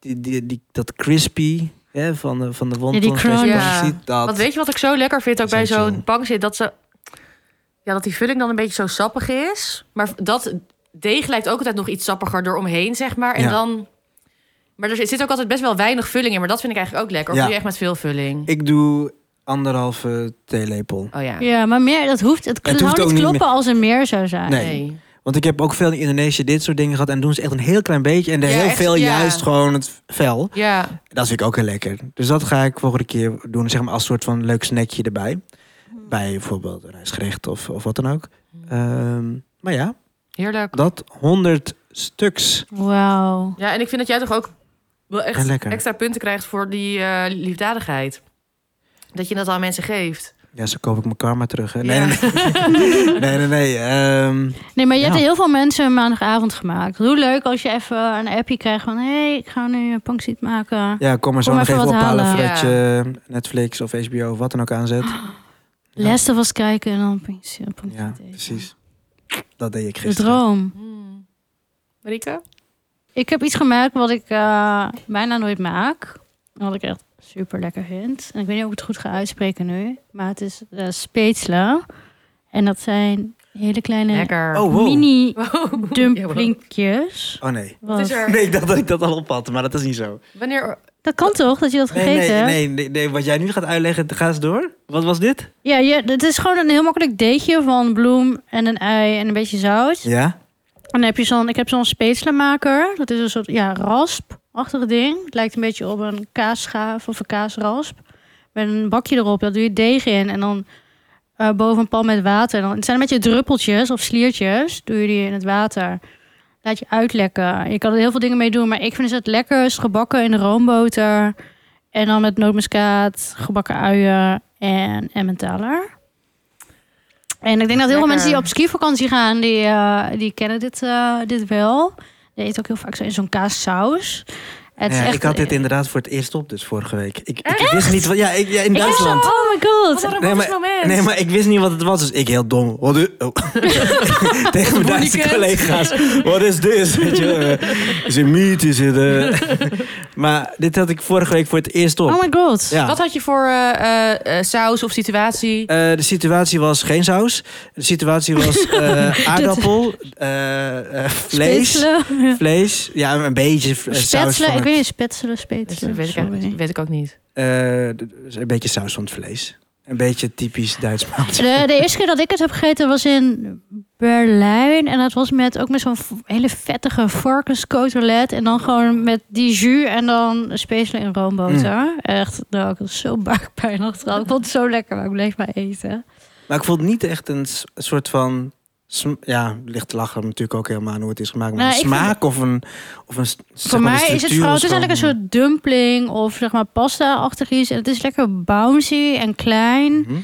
[SPEAKER 1] die, die, die, dat crispy hè, van, de, van de wond.
[SPEAKER 2] Ja, die crunch.
[SPEAKER 3] Ja.
[SPEAKER 1] dat.
[SPEAKER 3] Want weet je wat ik zo lekker vind ook bij
[SPEAKER 1] Essential.
[SPEAKER 3] zo'n bank zit? Dat, ze, ja, dat die vulling dan een beetje zo sappig is. Maar dat deeg lijkt ook altijd nog iets sappiger eromheen, zeg maar. En
[SPEAKER 1] Ja.
[SPEAKER 3] dan... Maar er zit ook altijd best wel weinig vulling in. Maar dat vind ik eigenlijk ook lekker. Of
[SPEAKER 1] Ja.
[SPEAKER 3] doe je echt met veel vulling?
[SPEAKER 1] Ik doe anderhalve theelepel.
[SPEAKER 3] Oh ja.
[SPEAKER 2] Ja, maar meer, dat hoeft, het,
[SPEAKER 1] hoeft
[SPEAKER 2] zou
[SPEAKER 1] ook
[SPEAKER 2] niet
[SPEAKER 1] niet
[SPEAKER 2] kloppen als er meer zou zijn.
[SPEAKER 1] Nee. Want ik heb ook veel in Indonesië dit soort dingen gehad. En doen ze echt een heel klein beetje. En er
[SPEAKER 3] Ja,
[SPEAKER 1] heel
[SPEAKER 3] echt,
[SPEAKER 1] veel
[SPEAKER 3] ja.
[SPEAKER 1] juist gewoon het vel.
[SPEAKER 3] Ja.
[SPEAKER 1] Dat vind ik ook heel lekker. Dus dat ga ik volgende keer doen. Zeg maar als soort van leuk snackje erbij.
[SPEAKER 2] Mm.
[SPEAKER 1] Bij bijvoorbeeld een rijstgerecht of, of wat dan ook. Ehm, maar ja,
[SPEAKER 3] Heerlijk.
[SPEAKER 1] dat 100 stuks.
[SPEAKER 2] Wauw.
[SPEAKER 3] Ja, en ik vind dat jij toch ook wel
[SPEAKER 1] En
[SPEAKER 3] echt
[SPEAKER 1] lekker.
[SPEAKER 3] extra punten krijgt voor die eh, liefdadigheid. Dat je dat aan mensen geeft.
[SPEAKER 1] Ja, zo koop ik mijn karma terug. hè. Nee,
[SPEAKER 3] Ja.
[SPEAKER 1] nee, nee. nee, nee, nee. Ehm,
[SPEAKER 2] Nee, maar je hebt
[SPEAKER 1] Ja.
[SPEAKER 2] heel veel mensen een maandagavond gemaakt. Hoe leuk als je even een appje krijgt van... hé, hey, ik ga nu een pankziet maken.
[SPEAKER 1] Ja, kom maar zo
[SPEAKER 2] Kom
[SPEAKER 1] nog
[SPEAKER 2] even
[SPEAKER 1] even
[SPEAKER 2] wat
[SPEAKER 1] ophalen
[SPEAKER 2] halen. Ah,
[SPEAKER 1] voordat
[SPEAKER 3] Ja.
[SPEAKER 1] je Netflix of HBO of wat dan ook aanzet. Ja.
[SPEAKER 2] Les was kijken en dan een pankziet een pankziet
[SPEAKER 1] Ja,
[SPEAKER 2] eten.
[SPEAKER 1] precies. Dat deed ik
[SPEAKER 2] De
[SPEAKER 1] gisteren.
[SPEAKER 2] droom.
[SPEAKER 3] Marike?
[SPEAKER 2] Ik heb iets gemaakt wat ik eh, bijna nooit maak. Wat ik echt super lekker vind. En ik weet niet of ik het goed ga uitspreken nu. Maar het is eh speetsla. En dat zijn hele kleine
[SPEAKER 3] Lekker.
[SPEAKER 1] Oh, wow.
[SPEAKER 2] mini
[SPEAKER 3] Wow.
[SPEAKER 2] dumplingjes.
[SPEAKER 1] Oh nee.
[SPEAKER 2] Wat-
[SPEAKER 3] Is er-
[SPEAKER 1] Nee, ik dacht dat ik dat al op had, maar dat is niet zo.
[SPEAKER 3] Wanneer...
[SPEAKER 2] Dat kan toch, dat je dat
[SPEAKER 1] Nee,
[SPEAKER 2] gegeten
[SPEAKER 1] nee,
[SPEAKER 2] hebt?
[SPEAKER 1] nee, nee, nee, wat jij nu gaat uitleggen, ga eens door. Wat was dit?
[SPEAKER 2] Ja, je, het is gewoon een heel makkelijk deegje van bloem en een ei en een beetje zout.
[SPEAKER 1] Ja?
[SPEAKER 2] En dan heb je zo'n, ik heb zo'n speeslemaker. Dat is een soort ja, rasp-achtig ding. Het lijkt een beetje op een kaasschaaf of een kaasrasp. Met een bakje erop, daar doe je deeg in. En dan eh, boven een pan met water. En Dan, het zijn een beetje druppeltjes of sliertjes. Doe je die in het water. Laat je uitlekken. Je kan er heel veel dingen mee doen. Maar ik vind dus het het lekkerst gebakken in de roomboter. En dan met nootmuskaat, gebakken uien en emmentaler. En ik denk dat heel veel
[SPEAKER 3] Lekker.
[SPEAKER 2] mensen die op skivakantie gaan, die, eh, die kennen dit, eh, dit wel. Je eet ook heel vaak zo in zo'n kaassaus. Het is
[SPEAKER 1] Ja,
[SPEAKER 2] echt,
[SPEAKER 1] Ik had dit inderdaad voor het eerst op, dus vorige week. Ik, ik wist niet wat... Ja, ik, ja in
[SPEAKER 2] Ik was zo,
[SPEAKER 1] Duitsland.
[SPEAKER 2] oh my god.
[SPEAKER 3] Wat een
[SPEAKER 1] Nee,
[SPEAKER 3] romantisch
[SPEAKER 1] maar-
[SPEAKER 3] moment.
[SPEAKER 1] Nee, maar ik wist niet wat het was, dus ik heel dom. Wat is... oh. Tegen mijn Duitse
[SPEAKER 3] Bonnie
[SPEAKER 1] collega's. Wat is dit? Weet je, eh, Is het meat? Is het... eh, maar dit had ik vorige week voor het eerst op.
[SPEAKER 2] Oh my god.
[SPEAKER 1] ja.
[SPEAKER 3] Wat had je voor eh, eh, eh, saus of situatie?
[SPEAKER 1] Eh, de situatie was geen saus. De situatie was eh, aardappel, eh, eh, vlees.
[SPEAKER 2] Spetselen. Ja.
[SPEAKER 1] Vlees, ja, een beetje v- eh, saus.
[SPEAKER 2] Spetselen,
[SPEAKER 1] Van het,
[SPEAKER 2] ik weet niet, spetselen,
[SPEAKER 3] Dat
[SPEAKER 2] spetselen.
[SPEAKER 3] weet, ik
[SPEAKER 2] sorry.
[SPEAKER 3] eigenlijk- weet ik ook niet.
[SPEAKER 1] eh, d- dus een beetje saus van het vlees. Een beetje typisch Duits maaltijd.
[SPEAKER 2] De, de eerste keer dat ik het heb gegeten was in Berlijn. En dat was met ook met zo'n v- hele vettige varkenscotelet. En dan gewoon met die jus en dan spezelen in roomboter.
[SPEAKER 1] Mm.
[SPEAKER 2] Echt, nou, ik had zo buikpijn achteraf. Ik vond het zo lekker, maar ik bleef maar eten.
[SPEAKER 1] Maar ik vond het niet echt een s- soort van... sm- Ja, ligt lachen natuurlijk ook helemaal aan hoe het is gemaakt. Maar
[SPEAKER 2] Nou,
[SPEAKER 1] een
[SPEAKER 2] ik vind-
[SPEAKER 1] smaak of een... Of een s-
[SPEAKER 2] Voor
[SPEAKER 1] zeg maar, de
[SPEAKER 2] mij is het
[SPEAKER 1] structuur
[SPEAKER 2] vooral, het
[SPEAKER 1] was
[SPEAKER 2] is eigenlijk een
[SPEAKER 1] gewoon-
[SPEAKER 2] soort dumpling of zeg maar pasta-achtig iets. En het is lekker bouncy en klein.
[SPEAKER 1] Mhm.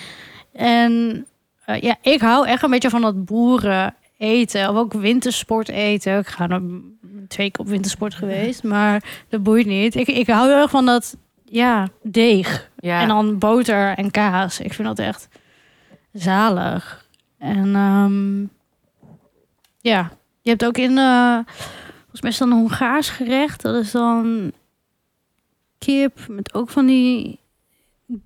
[SPEAKER 2] En eh, ja, ik hou echt een beetje van dat boeren eten. Of ook wintersport eten. Ik ga nou twee keer op wintersport geweest. Maar dat boeit niet. Ik, ik hou heel erg van dat ja, deeg.
[SPEAKER 3] Ja.
[SPEAKER 2] En dan boter en kaas. Ik vind dat echt zalig. En ehm, ja, je hebt ook in... eh, Volgens mij is dat een Hongaars gerecht. Dat is dan kip met ook van die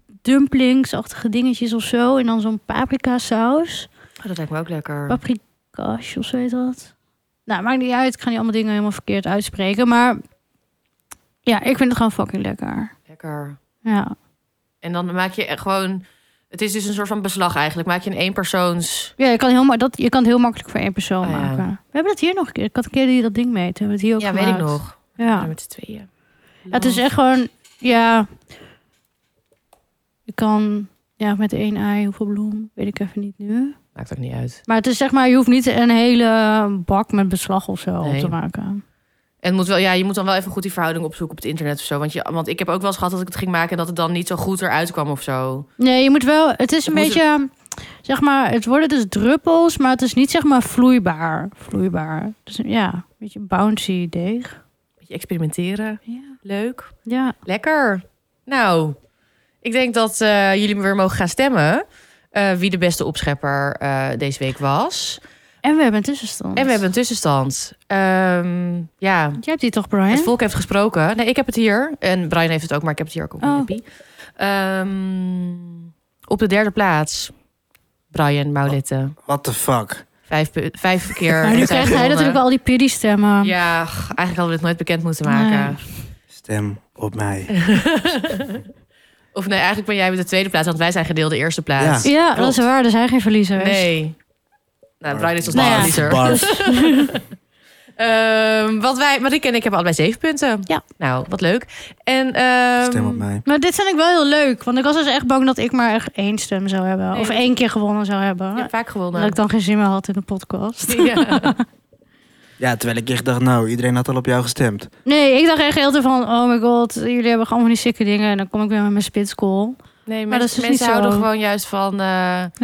[SPEAKER 2] dumplingsachtige dingetjes of zo. En dan zo'n paprika saus.
[SPEAKER 3] Oh, dat lijkt me ook lekker.
[SPEAKER 2] Paprikash of zo heet dat. Nou, maakt niet uit. Ik ga niet allemaal dingen helemaal verkeerd uitspreken. Maar ja, ik vind het gewoon fucking lekker.
[SPEAKER 3] lekker.
[SPEAKER 2] Ja,
[SPEAKER 3] En dan maak je echt gewoon... Het is dus een soort van beslag eigenlijk. Maak je een eenpersoons...
[SPEAKER 2] ja je, kan heel, ma- dat, je kan het heel makkelijk voor één persoon
[SPEAKER 3] Ah, ja.
[SPEAKER 2] maken. We hebben dat hier nog een keer. Ik had een keer die dat ding mee. Toen hebben we het hier ook
[SPEAKER 3] Ja, weet ik
[SPEAKER 2] gemaakt.
[SPEAKER 3] nog.
[SPEAKER 2] Ja.
[SPEAKER 3] Met z'n tweeën.
[SPEAKER 2] Ja, het is echt gewoon, ja. Je kan, ja, met één ei, hoeveel bloem, weet ik even niet nu.
[SPEAKER 3] Maakt ook niet uit.
[SPEAKER 2] Maar het is zeg maar, je hoeft niet een hele bak met beslag of zo
[SPEAKER 3] Nee.
[SPEAKER 2] te maken.
[SPEAKER 3] En het moet wel, ja, je moet dan wel even goed die verhouding opzoeken op het internet of zo. Want, je, want ik heb ook wel eens gehad dat ik het ging maken... en dat het dan niet zo goed eruit kwam of zo.
[SPEAKER 2] Nee, je moet wel, het is een
[SPEAKER 3] Het moet-
[SPEAKER 2] beetje, zeg maar, het worden dus druppels, maar het is niet zeg maar vloeibaar. Vloeibaar. Dus ja, een beetje bouncy deeg.
[SPEAKER 3] Beetje experimenteren.
[SPEAKER 2] Ja.
[SPEAKER 3] Leuk.
[SPEAKER 2] Ja,
[SPEAKER 3] Lekker. Nou, ik denk dat eh, jullie weer mogen gaan stemmen... eh, wie de beste opschepper eh, deze week was.
[SPEAKER 2] en we hebben een tussenstand.
[SPEAKER 3] En we hebben een tussenstand. Ehm, ja,
[SPEAKER 2] Jij hebt die toch, Brian?
[SPEAKER 3] Het volk heeft gesproken. Nee, ik heb het hier. En Brian heeft het ook, maar ik heb het hier ook op.
[SPEAKER 2] Oh.
[SPEAKER 3] mijn appie. Ehm, op de derde plaats, Brian Maulette.
[SPEAKER 1] What the fuck?
[SPEAKER 3] Vijf, pu- vijf keer.
[SPEAKER 2] maar
[SPEAKER 3] heeft
[SPEAKER 2] nu krijgt hij
[SPEAKER 3] gewonnen.
[SPEAKER 2] natuurlijk al die piri-stemmen.
[SPEAKER 3] Ja, g- eigenlijk hadden we dit nooit bekend moeten maken.
[SPEAKER 1] Stem op mij.
[SPEAKER 2] Ehm.
[SPEAKER 3] Of nee, eigenlijk ben jij op de tweede plaats, want wij zijn gedeelde eerste plaats.
[SPEAKER 1] Ja.
[SPEAKER 2] Ja, dat
[SPEAKER 3] Klopt.
[SPEAKER 2] is waar. Er zijn geen verliezers.
[SPEAKER 3] Nee. Nou, Brian is ons
[SPEAKER 2] Nou ja.
[SPEAKER 3] nou, liter.
[SPEAKER 1] Barf.
[SPEAKER 3] want Ehm, wij, Marieke en ik hebben allebei zeven punten.
[SPEAKER 2] Ja.
[SPEAKER 3] Nou, wat leuk. En, ehm,
[SPEAKER 1] Stem op mij.
[SPEAKER 2] Maar dit vind ik wel heel leuk. Want ik was dus echt bang dat ik maar echt één stem zou hebben.
[SPEAKER 3] Nee,
[SPEAKER 2] of
[SPEAKER 3] dat-
[SPEAKER 2] één keer gewonnen zou hebben.
[SPEAKER 3] Je hebt vaak gewonnen.
[SPEAKER 2] Nou, dat ik dan geen zin meer had in de podcast.
[SPEAKER 3] Ja.
[SPEAKER 1] Ja, terwijl ik echt dacht, nou, iedereen had al op jou gestemd.
[SPEAKER 2] Nee, ik dacht echt heel veel van... Oh my god, jullie hebben gewoon van die sikke dingen. En dan kom ik weer met mijn spitskool.
[SPEAKER 3] Nee, mensen,
[SPEAKER 2] Maar dat is dus
[SPEAKER 3] mensen
[SPEAKER 2] niet zo. Ah.
[SPEAKER 3] houden gewoon juist van eh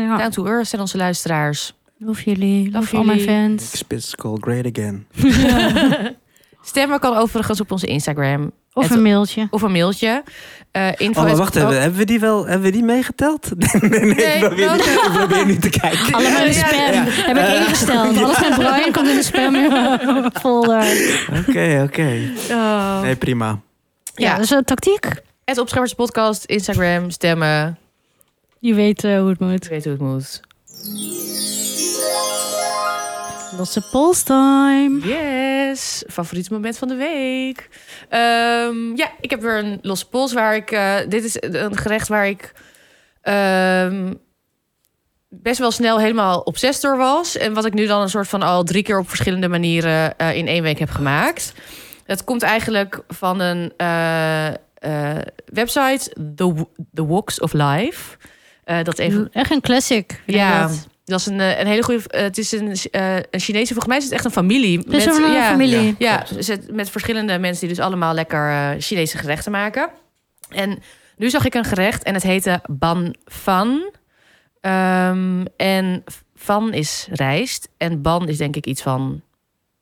[SPEAKER 2] Ja,
[SPEAKER 3] down to earth zijn onze luisteraars.
[SPEAKER 2] love jullie. Love
[SPEAKER 3] Love
[SPEAKER 2] al mijn
[SPEAKER 3] jullie.
[SPEAKER 1] Ik
[SPEAKER 2] fans.
[SPEAKER 1] spits call great again.
[SPEAKER 3] Stemmen kan overigens op onze Instagram
[SPEAKER 2] Of
[SPEAKER 3] Het-
[SPEAKER 2] een mailtje.
[SPEAKER 3] of een mailtje. Eh info
[SPEAKER 1] Oh, maar wacht
[SPEAKER 3] at-
[SPEAKER 1] even. Hebben we die wel hebben we die meegeteld? Nee, nee, nee,
[SPEAKER 3] Nee,
[SPEAKER 1] ik, probeer niet,
[SPEAKER 3] welke?
[SPEAKER 1] ik probeer niet te kijken.
[SPEAKER 2] Allemaal in de
[SPEAKER 3] Ja,
[SPEAKER 2] spam.
[SPEAKER 3] ja, ja.
[SPEAKER 2] Heb ik ingesteld. Alles met Brian komt in de spam folder.
[SPEAKER 1] Oké, oké.
[SPEAKER 3] Oh.
[SPEAKER 1] Nee, prima.
[SPEAKER 2] Ja,
[SPEAKER 3] Ja,
[SPEAKER 2] dat is een dus, eh, tactiek.
[SPEAKER 3] het Opscheppers podcast, Instagram, stemmen.
[SPEAKER 2] Je weet eh, hoe het moet.
[SPEAKER 3] Je weet hoe het moet.
[SPEAKER 2] Losse polls time.
[SPEAKER 3] Yes, favoriet moment van de week. Ehm, ja, ik heb weer een losse pols waar ik. eh, dit is een gerecht waar ik ehm, best wel snel helemaal obsessief door was. En wat ik nu dan een soort van al drie keer op verschillende manieren eh, in één week heb gemaakt. Dat komt eigenlijk van een eh, eh, website, The, W- The Walks of Life. Eh, dat even
[SPEAKER 2] Echt een classic. vind ik
[SPEAKER 3] Ja.
[SPEAKER 2] dat.
[SPEAKER 3] dat is een, eh, een hele goede. eh, het is een, eh, een Chinese. Volgens mij is het echt een familie.
[SPEAKER 2] Het is een
[SPEAKER 3] ja,
[SPEAKER 2] familie.
[SPEAKER 1] Ja.
[SPEAKER 3] ja, ze- met verschillende mensen die dus allemaal lekker eh, Chinese gerechten maken. En nu zag ik een gerecht en het heette ban fan. Ehm, en fan is rijst en ban is denk ik iets van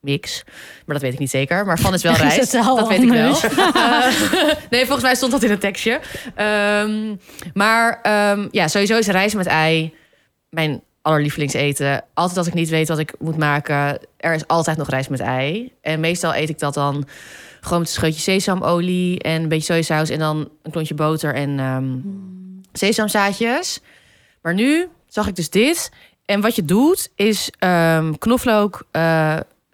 [SPEAKER 3] mix. Maar dat weet ik niet zeker. Maar van is wel
[SPEAKER 2] Is
[SPEAKER 3] rijst.
[SPEAKER 2] het wel
[SPEAKER 3] dat weet ik wel.
[SPEAKER 2] anders?
[SPEAKER 3] Eh, nee, volgens mij stond dat in het tekstje. Ehm, maar ehm, ja, sowieso is rijst met ei mijn allerlievelingseten. Altijd als ik niet weet wat ik moet maken, er is altijd nog rijst met ei. En meestal eet ik dat dan gewoon met een scheutje sesamolie en een beetje sojasaus en dan een klontje boter en ehm
[SPEAKER 2] Hmm.
[SPEAKER 3] sesamzaadjes. Maar nu zag ik dus dit. En wat je doet is ehm, knoflook, eh,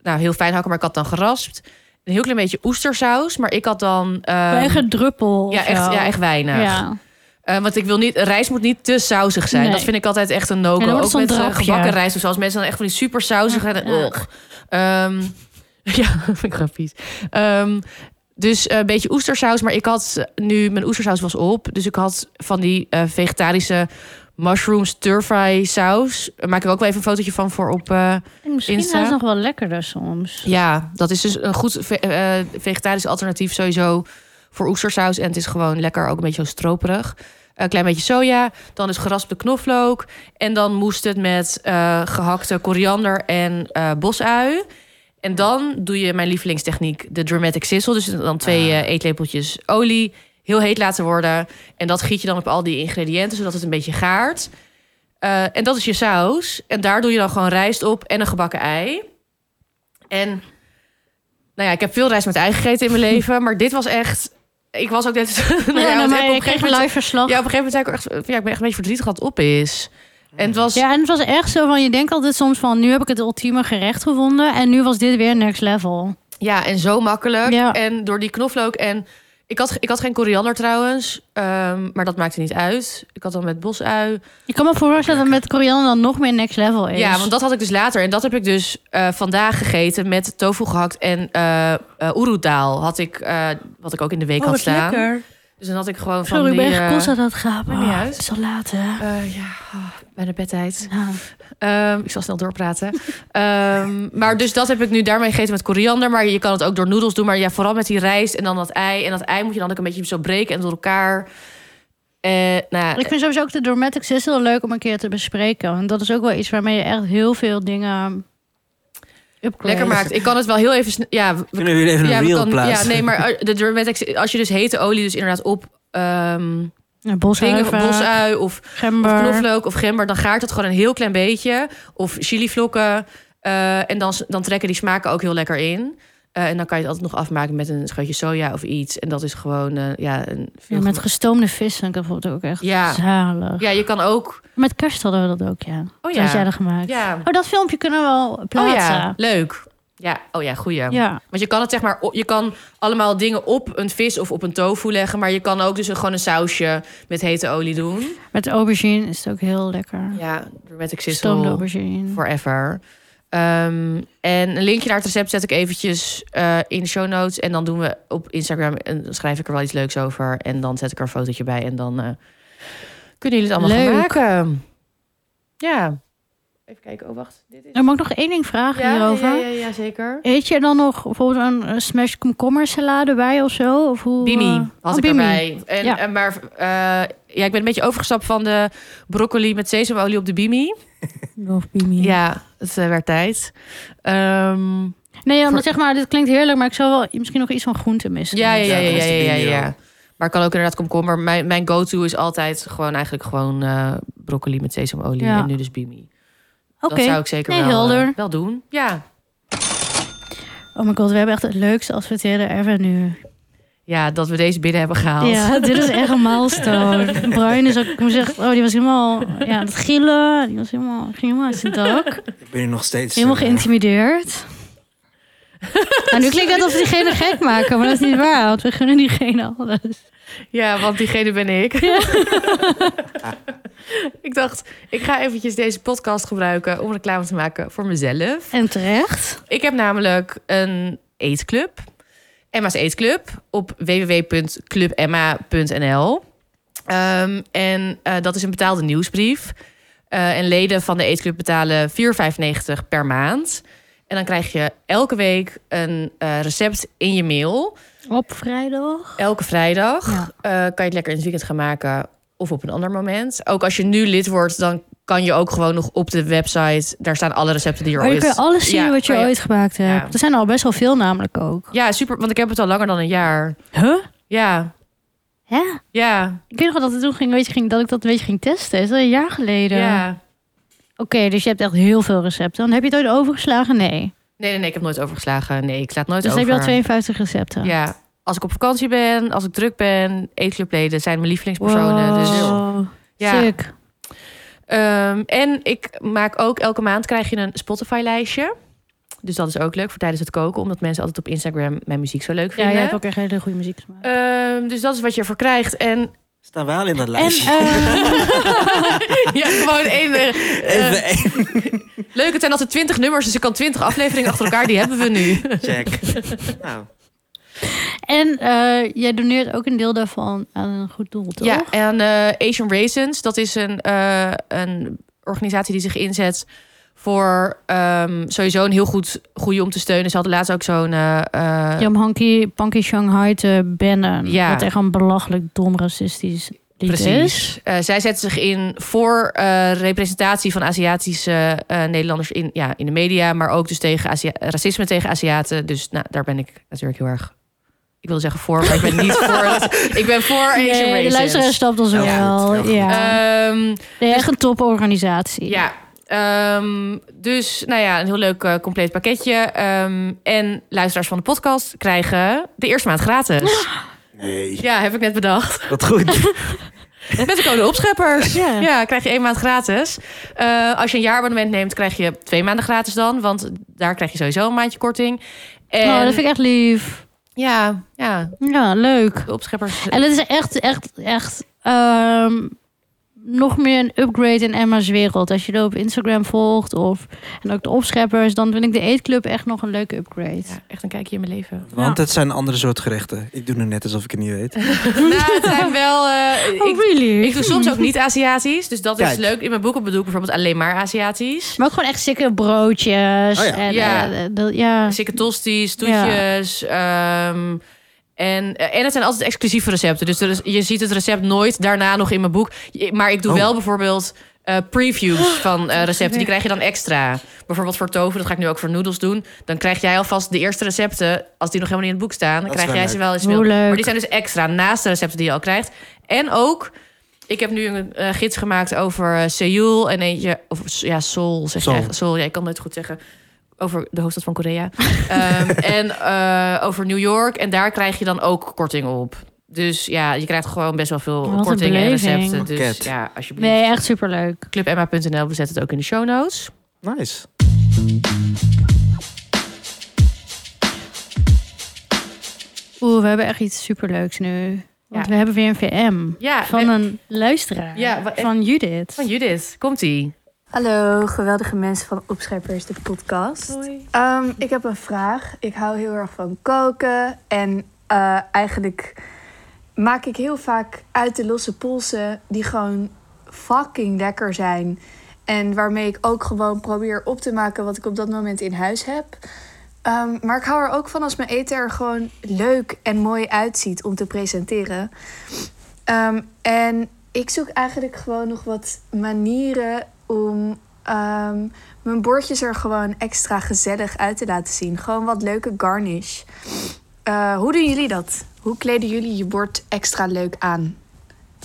[SPEAKER 3] nou heel fijn hakken, maar ik had dan geraspt. Een heel klein beetje oestersaus, maar ik had dan... ehm,
[SPEAKER 2] Een eigen druppel.
[SPEAKER 3] ja,
[SPEAKER 2] of
[SPEAKER 3] echt,
[SPEAKER 2] zo.
[SPEAKER 3] ja, echt weinig.
[SPEAKER 2] Ja.
[SPEAKER 3] Eh, want ik wil niet, rijst moet niet te sausig zijn.
[SPEAKER 2] Nee.
[SPEAKER 3] Dat vind ik altijd echt een
[SPEAKER 2] En
[SPEAKER 3] no-go.
[SPEAKER 2] dan wordt
[SPEAKER 3] Ook
[SPEAKER 2] het
[SPEAKER 3] met
[SPEAKER 2] zo'n
[SPEAKER 3] eh,
[SPEAKER 2] drankje.
[SPEAKER 3] gebakken rijst of zo. Als mensen dan echt van die super sausig en
[SPEAKER 2] Ja.
[SPEAKER 3] ugh. Ehm, ja, vind ik gewoon vies. Ehm, dus eh, een beetje oestersaus. Maar ik had eh, nu, mijn oestersaus was op. Dus ik had van die eh, vegetarische mushroom stir-fry saus. Daar maak ik ook wel even een fotootje van voor op... eh,
[SPEAKER 2] En misschien
[SPEAKER 3] Insta.
[SPEAKER 2] is het nog wel lekkerder soms.
[SPEAKER 3] ja, dat is dus een goed ve- eh, vegetarisch alternatief sowieso voor oestersaus. En het is gewoon lekker, ook een beetje zo stroperig. Een klein beetje soja, dan is geraspte knoflook. En dan moest het met eh, gehakte koriander en eh bosui. En dan doe je mijn lievelingstechniek, de dramatic sizzle. Dus dan twee eh, eetlepeltjes olie, heel heet laten worden. En dat giet je dan op al die ingrediënten, zodat het een beetje gaart. Eh, en dat is je saus. En daar doe je dan gewoon rijst op en een gebakken ei. En Nou ja, ik heb veel rijst met ei gegeten in mijn leven. Maar dit was echt... Ik was ook net... Nou ja, want
[SPEAKER 2] Ja, nou,
[SPEAKER 3] op
[SPEAKER 2] maar
[SPEAKER 3] een
[SPEAKER 2] ik kreeg
[SPEAKER 3] gegeven
[SPEAKER 2] een
[SPEAKER 3] moment-
[SPEAKER 2] live verslag.
[SPEAKER 3] Ja, op een gegeven moment zei ik ook echt... van, Ja, ik ben echt een beetje verdrietig dat het op is. En het was...
[SPEAKER 2] Ja, en het was echt zo van, je denkt altijd soms van, nu heb ik het ultieme gerecht gevonden en nu was dit weer next level.
[SPEAKER 3] Ja, en zo makkelijk.
[SPEAKER 2] Ja.
[SPEAKER 3] En door die knoflook. En ik had, ik had geen koriander trouwens. ehm, maar dat maakte niet uit. Ik had dan met bosui.
[SPEAKER 2] Ik kan me voorstellen dat het met koriander dan nog meer next level is.
[SPEAKER 3] Ja, want dat had ik dus later. En dat heb ik dus eh, vandaag gegeten met tofu gehakt en eh eh oeroedaal. Had ik, eh, wat ik ook in de week had staan. Dus dan had ik gewoon van
[SPEAKER 2] Oh, Sorry, ik
[SPEAKER 3] die...
[SPEAKER 2] ben
[SPEAKER 3] eh,
[SPEAKER 2] gekost aan het gapen.
[SPEAKER 3] maakt niet uit.
[SPEAKER 2] het is al laat, hè?
[SPEAKER 3] eh, ja, oh, bijna bedtijd.
[SPEAKER 2] Nou,
[SPEAKER 3] Ehm, ik zal snel doorpraten. Ehm, maar dus dat heb ik nu daarmee gegeten met koriander. Maar je kan het ook door noedels doen. Maar ja, vooral met die rijst en dan dat ei. En dat ei moet je dan ook een beetje zo breken en door elkaar. Eh, nou ja,
[SPEAKER 2] ik vind sowieso ook de Dormatics is heel leuk om een keer te bespreken. Want dat is ook wel iets waarmee je echt heel veel dingen upgrade.
[SPEAKER 3] lekker maakt. Ik kan het wel heel even... sn- Ja, we-
[SPEAKER 1] Kunnen jullie even
[SPEAKER 3] ja,
[SPEAKER 1] een
[SPEAKER 3] we
[SPEAKER 1] reel
[SPEAKER 3] kan- ja,
[SPEAKER 1] plaatsen?
[SPEAKER 3] nee, maar eh, de Durmetex, als je dus hete olie dus inderdaad op... ehm
[SPEAKER 2] Ja,
[SPEAKER 3] dingen,
[SPEAKER 2] Boshuiven,
[SPEAKER 3] bosui of Of
[SPEAKER 2] gember.
[SPEAKER 3] knoflook of gember, dan gaart het gewoon een heel klein beetje. Of chilivlokken. eh en dan, dan trekken die smaken ook heel lekker in. Eh, en dan kan je het altijd nog afmaken met een scheutje soja of iets. En dat is gewoon, eh, ja... Een veel
[SPEAKER 2] Ja, met
[SPEAKER 3] goed-
[SPEAKER 2] gestoomde vis vind ik dat bijvoorbeeld ook echt
[SPEAKER 3] Ja.
[SPEAKER 2] zalig.
[SPEAKER 3] ja, je kan ook...
[SPEAKER 2] Met kerst hadden we dat ook,
[SPEAKER 3] Oh
[SPEAKER 2] ja. Dat had jij
[SPEAKER 3] ja,
[SPEAKER 2] dat gemaakt.
[SPEAKER 3] ja.
[SPEAKER 2] Oh, dat filmpje kunnen we wel
[SPEAKER 3] Oh
[SPEAKER 2] plaatsen.
[SPEAKER 3] ja, leuk. Ja, oh ja, goeie.
[SPEAKER 2] Ja.
[SPEAKER 3] Want je kan het zeg maar, op- je kan allemaal dingen op een vis of op een tofu leggen. Maar je kan ook dus een- gewoon een sausje met hete olie doen.
[SPEAKER 2] Met aubergine is het ook heel lekker.
[SPEAKER 3] Ja, met ik
[SPEAKER 2] Gestoomde aubergine.
[SPEAKER 3] forever. Ehm, en een linkje naar het recept zet ik eventjes eh, in de show notes. En dan doen we op Instagram en dan schrijf ik er wel iets leuks over. En dan zet ik er een fotootje bij. En dan eh, kunnen jullie het allemaal gaan
[SPEAKER 2] Leuk.
[SPEAKER 3] maken. Ja. Even kijken. Oh, wacht. Dit is...
[SPEAKER 2] Dan mag ik nog één ding vragen hierover.
[SPEAKER 3] ja, ja, zeker.
[SPEAKER 2] Eet je dan nog bijvoorbeeld een eh, smash komkommersalade bij of zo? Of hoe, eh,
[SPEAKER 3] Bimi had
[SPEAKER 2] oh,
[SPEAKER 3] ik
[SPEAKER 2] bimi.
[SPEAKER 3] erbij. En,
[SPEAKER 2] Ja.
[SPEAKER 3] en maar eh, ja, ik ben een beetje overgestapt van de broccoli met sesamolie op de bimi.
[SPEAKER 2] Of bimi.
[SPEAKER 3] Ja, het eh, werd tijd. Ehm,
[SPEAKER 2] Nee, omdat
[SPEAKER 3] Voor-
[SPEAKER 2] zeg maar, dit klinkt heerlijk, maar ik zou wel misschien nog iets van groente missen.
[SPEAKER 3] Ja, ja, ja,
[SPEAKER 1] Ja,
[SPEAKER 3] ja,
[SPEAKER 1] dat is
[SPEAKER 3] ja,
[SPEAKER 1] de
[SPEAKER 3] ja,
[SPEAKER 1] bimio.
[SPEAKER 3] ja. Maar het kan ook inderdaad komkommer. Mijn, mijn go-to is altijd gewoon eigenlijk gewoon eh, broccoli met sesamolie
[SPEAKER 2] Ja.
[SPEAKER 3] en nu dus bimi.
[SPEAKER 2] Oké.
[SPEAKER 3] Dat zou ik zeker
[SPEAKER 2] Nee,
[SPEAKER 3] wel, eh,
[SPEAKER 2] helder.
[SPEAKER 3] wel doen. Ja.
[SPEAKER 2] Oh my god, we hebben echt het leukste adverteren ever nu.
[SPEAKER 3] ja, dat we deze binnen hebben gehaald.
[SPEAKER 2] Ja, dit is echt een milestone. Bruin is ook, ik moet zeggen, oh, die was helemaal, ja, het gillen, die was helemaal, ging helemaal uit zijn dak.
[SPEAKER 1] Ik ben hier nog steeds...
[SPEAKER 2] Helemaal
[SPEAKER 1] eh,
[SPEAKER 2] geïntimideerd. nou, nu klinkt het alsof we diegene gek maken, maar dat is niet waar, want we gunnen diegene alles.
[SPEAKER 3] Ja, want diegene ben ik. ik dacht, ik ga eventjes deze podcast gebruiken om reclame te maken voor mezelf.
[SPEAKER 2] En terecht.
[SPEAKER 3] Ik heb namelijk een eetclub. Emma's Eetclub op www.clubemma.nl. Ehm, en eh, dat is een betaalde nieuwsbrief. Eh, en leden van de eetclub betalen 4,95 per maand. En dan krijg je elke week een eh, recept in je mail.
[SPEAKER 2] Op vrijdag.
[SPEAKER 3] Elke vrijdag
[SPEAKER 2] Ja.
[SPEAKER 3] eh, kan je het lekker in het weekend gaan maken of op een ander moment. Ook als je nu lid wordt, dan kan je ook gewoon nog op de website. Daar staan alle recepten die er
[SPEAKER 2] Maar je
[SPEAKER 3] ooit...
[SPEAKER 2] kan alles zien
[SPEAKER 3] Ja,
[SPEAKER 2] wat je
[SPEAKER 3] kan
[SPEAKER 2] ooit gemaakt hebt.
[SPEAKER 3] Ja.
[SPEAKER 2] Er zijn er al best wel veel namelijk ook.
[SPEAKER 3] Ja, super, want ik heb het al langer dan een jaar.
[SPEAKER 2] Huh?
[SPEAKER 3] Ja,
[SPEAKER 2] Ja.
[SPEAKER 3] ja,
[SPEAKER 2] Ik weet nog wel dat, het toen ging, weet je, ging, dat ik dat een beetje ging testen. Is dat een jaar geleden?
[SPEAKER 3] ja.
[SPEAKER 2] Oké, dus je hebt echt heel veel recepten. Dan heb je het ooit overgeslagen? Nee.
[SPEAKER 3] Nee, nee, nee, ik heb nooit overgeslagen. Nee, ik slaat nooit
[SPEAKER 2] Dus dan
[SPEAKER 3] over.
[SPEAKER 2] heb je al 52 recepten.
[SPEAKER 3] Ja, als ik op vakantie ben, als ik druk ben, eetclubleden zijn mijn lievelingspersonen.
[SPEAKER 2] Wow.
[SPEAKER 3] Dus, Ja.
[SPEAKER 2] Sick.
[SPEAKER 3] Ehm, en ik maak ook elke maand krijg je een Spotify-lijstje. Dus dat is ook leuk voor tijdens het koken, omdat mensen altijd op Instagram mijn muziek zo leuk
[SPEAKER 2] Ja,
[SPEAKER 3] vinden.
[SPEAKER 2] jij hebt ook echt hele goede muziek gemaakt.
[SPEAKER 3] Ehm, dus dat is wat je ervoor krijgt. En
[SPEAKER 1] Staan wij al in dat
[SPEAKER 2] en eh,
[SPEAKER 1] lijstje?
[SPEAKER 3] ja, gewoon één. eh, eh,
[SPEAKER 1] Even één
[SPEAKER 3] leuk, het zijn altijd 20 nummers, dus ik kan 20 afleveringen achter elkaar. Die hebben we nu.
[SPEAKER 1] check. Nou,
[SPEAKER 2] En eh, jij doneert ook een deel daarvan aan een goed doel, toch?
[SPEAKER 3] Ja, en eh, Asian Raisins, dat is een, eh, een organisatie die zich inzet voor ehm, sowieso een heel goed goede om te steunen. Ze hadden laatst ook zo'n. eh, eh,
[SPEAKER 2] Ja, om Hanky Panky Shanghai te bannen.
[SPEAKER 3] Ja.
[SPEAKER 2] Wat echt een belachelijk dom racistisch lied is.
[SPEAKER 3] Precies. Eh, zij zetten zich in voor eh, representatie van Aziatische eh, Nederlanders in, ja, in de media, maar ook dus tegen Azia- racisme tegen Aziaten. Dus nou, daar ben ik natuurlijk heel erg. Ik wil zeggen voor, maar ik ben niet voor. het- ik ben voor Asian
[SPEAKER 2] Nee, de
[SPEAKER 3] Raisins.
[SPEAKER 2] luisteraar snapt ons
[SPEAKER 1] Heel
[SPEAKER 2] wel.
[SPEAKER 1] goed, heel goed.
[SPEAKER 2] ja.
[SPEAKER 3] Ehm,
[SPEAKER 2] Nee, echt een toporganisatie.
[SPEAKER 3] Ja, Ehm, dus, nou ja, een heel leuk eh, compleet pakketje. Ehm, en luisteraars van de podcast krijgen de eerste maand gratis.
[SPEAKER 1] Nee.
[SPEAKER 3] Ja, heb ik net bedacht.
[SPEAKER 1] Wat goed.
[SPEAKER 3] Met de code opscheppers.
[SPEAKER 2] Ja.
[SPEAKER 3] Ja, krijg je één maand gratis. Eh, als je een jaarabonnement neemt, krijg je twee maanden gratis dan. Want daar krijg je sowieso een maandje korting. En,
[SPEAKER 2] Oh, dat vind ik echt lief.
[SPEAKER 3] Ja, ja, eh,
[SPEAKER 2] Ja, leuk.
[SPEAKER 3] de opscheppers.
[SPEAKER 2] En het is echt, echt, echt ehm, nog meer een upgrade in Emma's wereld. Als je er op Instagram volgt of en ook de opscheppers, dan vind ik de eetclub echt nog een leuke upgrade.
[SPEAKER 3] Ja, echt een kijkje in mijn leven.
[SPEAKER 1] Want het zijn andere soort gerechten. Ik doe nu net alsof ik het niet weet.
[SPEAKER 3] nou, het zijn wel... eh,
[SPEAKER 2] Oh,
[SPEAKER 3] ik,
[SPEAKER 2] really?
[SPEAKER 3] ik doe soms ook niet Aziatisch. Dus dat is
[SPEAKER 1] Kijk.
[SPEAKER 3] leuk. In mijn boeken bedoel ik bijvoorbeeld alleen maar Aziatisch.
[SPEAKER 2] Maar ook gewoon echt sikke broodjes.
[SPEAKER 1] Oh ja.
[SPEAKER 2] En,
[SPEAKER 3] Ja.
[SPEAKER 2] eh, dat, ja.
[SPEAKER 3] Zeker tosties, toetjes. ehm, en, eh, en het zijn altijd exclusieve recepten. Dus er is- je ziet het recept nooit daarna nog in mijn boek. Je- Maar ik doe
[SPEAKER 1] Oh.
[SPEAKER 3] wel bijvoorbeeld eh, previews van eh, recepten. Die krijg je dan extra. Bijvoorbeeld voor tofu, dat ga ik nu ook voor noedels doen. Dan krijg jij alvast de eerste recepten, als die nog helemaal niet in het boek staan. Dan
[SPEAKER 1] Dat is
[SPEAKER 3] krijg
[SPEAKER 1] wel
[SPEAKER 3] jij
[SPEAKER 1] leuk.
[SPEAKER 3] ze wel eens
[SPEAKER 2] Hoe
[SPEAKER 3] mee.
[SPEAKER 2] leuk.
[SPEAKER 3] Maar die zijn dus extra, naast de recepten die je al krijgt. En ook... Ik heb nu een eh, gids gemaakt over eh, Seoul en eentje... Of ja, Seoul zeg je
[SPEAKER 1] Seoul.
[SPEAKER 3] eigenlijk. Seoul, ja, ik kan het nooit goed zeggen. Over de hoofdstad van Korea. Ehm, en eh, over New York. En daar krijg je dan ook korting op. Dus ja, je krijgt gewoon best wel veel
[SPEAKER 2] Wat een
[SPEAKER 3] kortingen en
[SPEAKER 2] beleving.
[SPEAKER 3] recepten. Dus
[SPEAKER 1] Pakket.
[SPEAKER 3] ja, alsjeblieft.
[SPEAKER 2] Nee, echt superleuk.
[SPEAKER 3] ClubEmma.nl, we zetten het ook in de show notes.
[SPEAKER 1] Nice.
[SPEAKER 2] Oeh, we hebben echt iets superleuks nu. Want
[SPEAKER 3] Ja.
[SPEAKER 2] we hebben weer een VM.
[SPEAKER 3] Ja,
[SPEAKER 2] Van
[SPEAKER 3] we-
[SPEAKER 2] een luisteraar.
[SPEAKER 3] Ja, wa-
[SPEAKER 2] van Judith.
[SPEAKER 3] van Judith. Komt-ie.
[SPEAKER 4] Hallo, geweldige mensen van Opscheppers, de podcast. Ehm, ik heb een vraag. Ik hou heel erg van koken. En eh, eigenlijk maak ik heel vaak uit de losse polsen die gewoon fucking lekker zijn. En waarmee ik ook gewoon probeer op te maken wat ik op dat moment in huis heb. Ehm, maar ik hou er ook van als mijn eten er gewoon leuk en mooi uitziet om te presenteren. Ehm, en ik zoek eigenlijk gewoon nog wat manieren om ehm, mijn bordjes er gewoon extra gezellig uit te laten zien. Gewoon wat leuke garnish. Eh, hoe doen jullie dat? Hoe kleden jullie je bord extra leuk aan?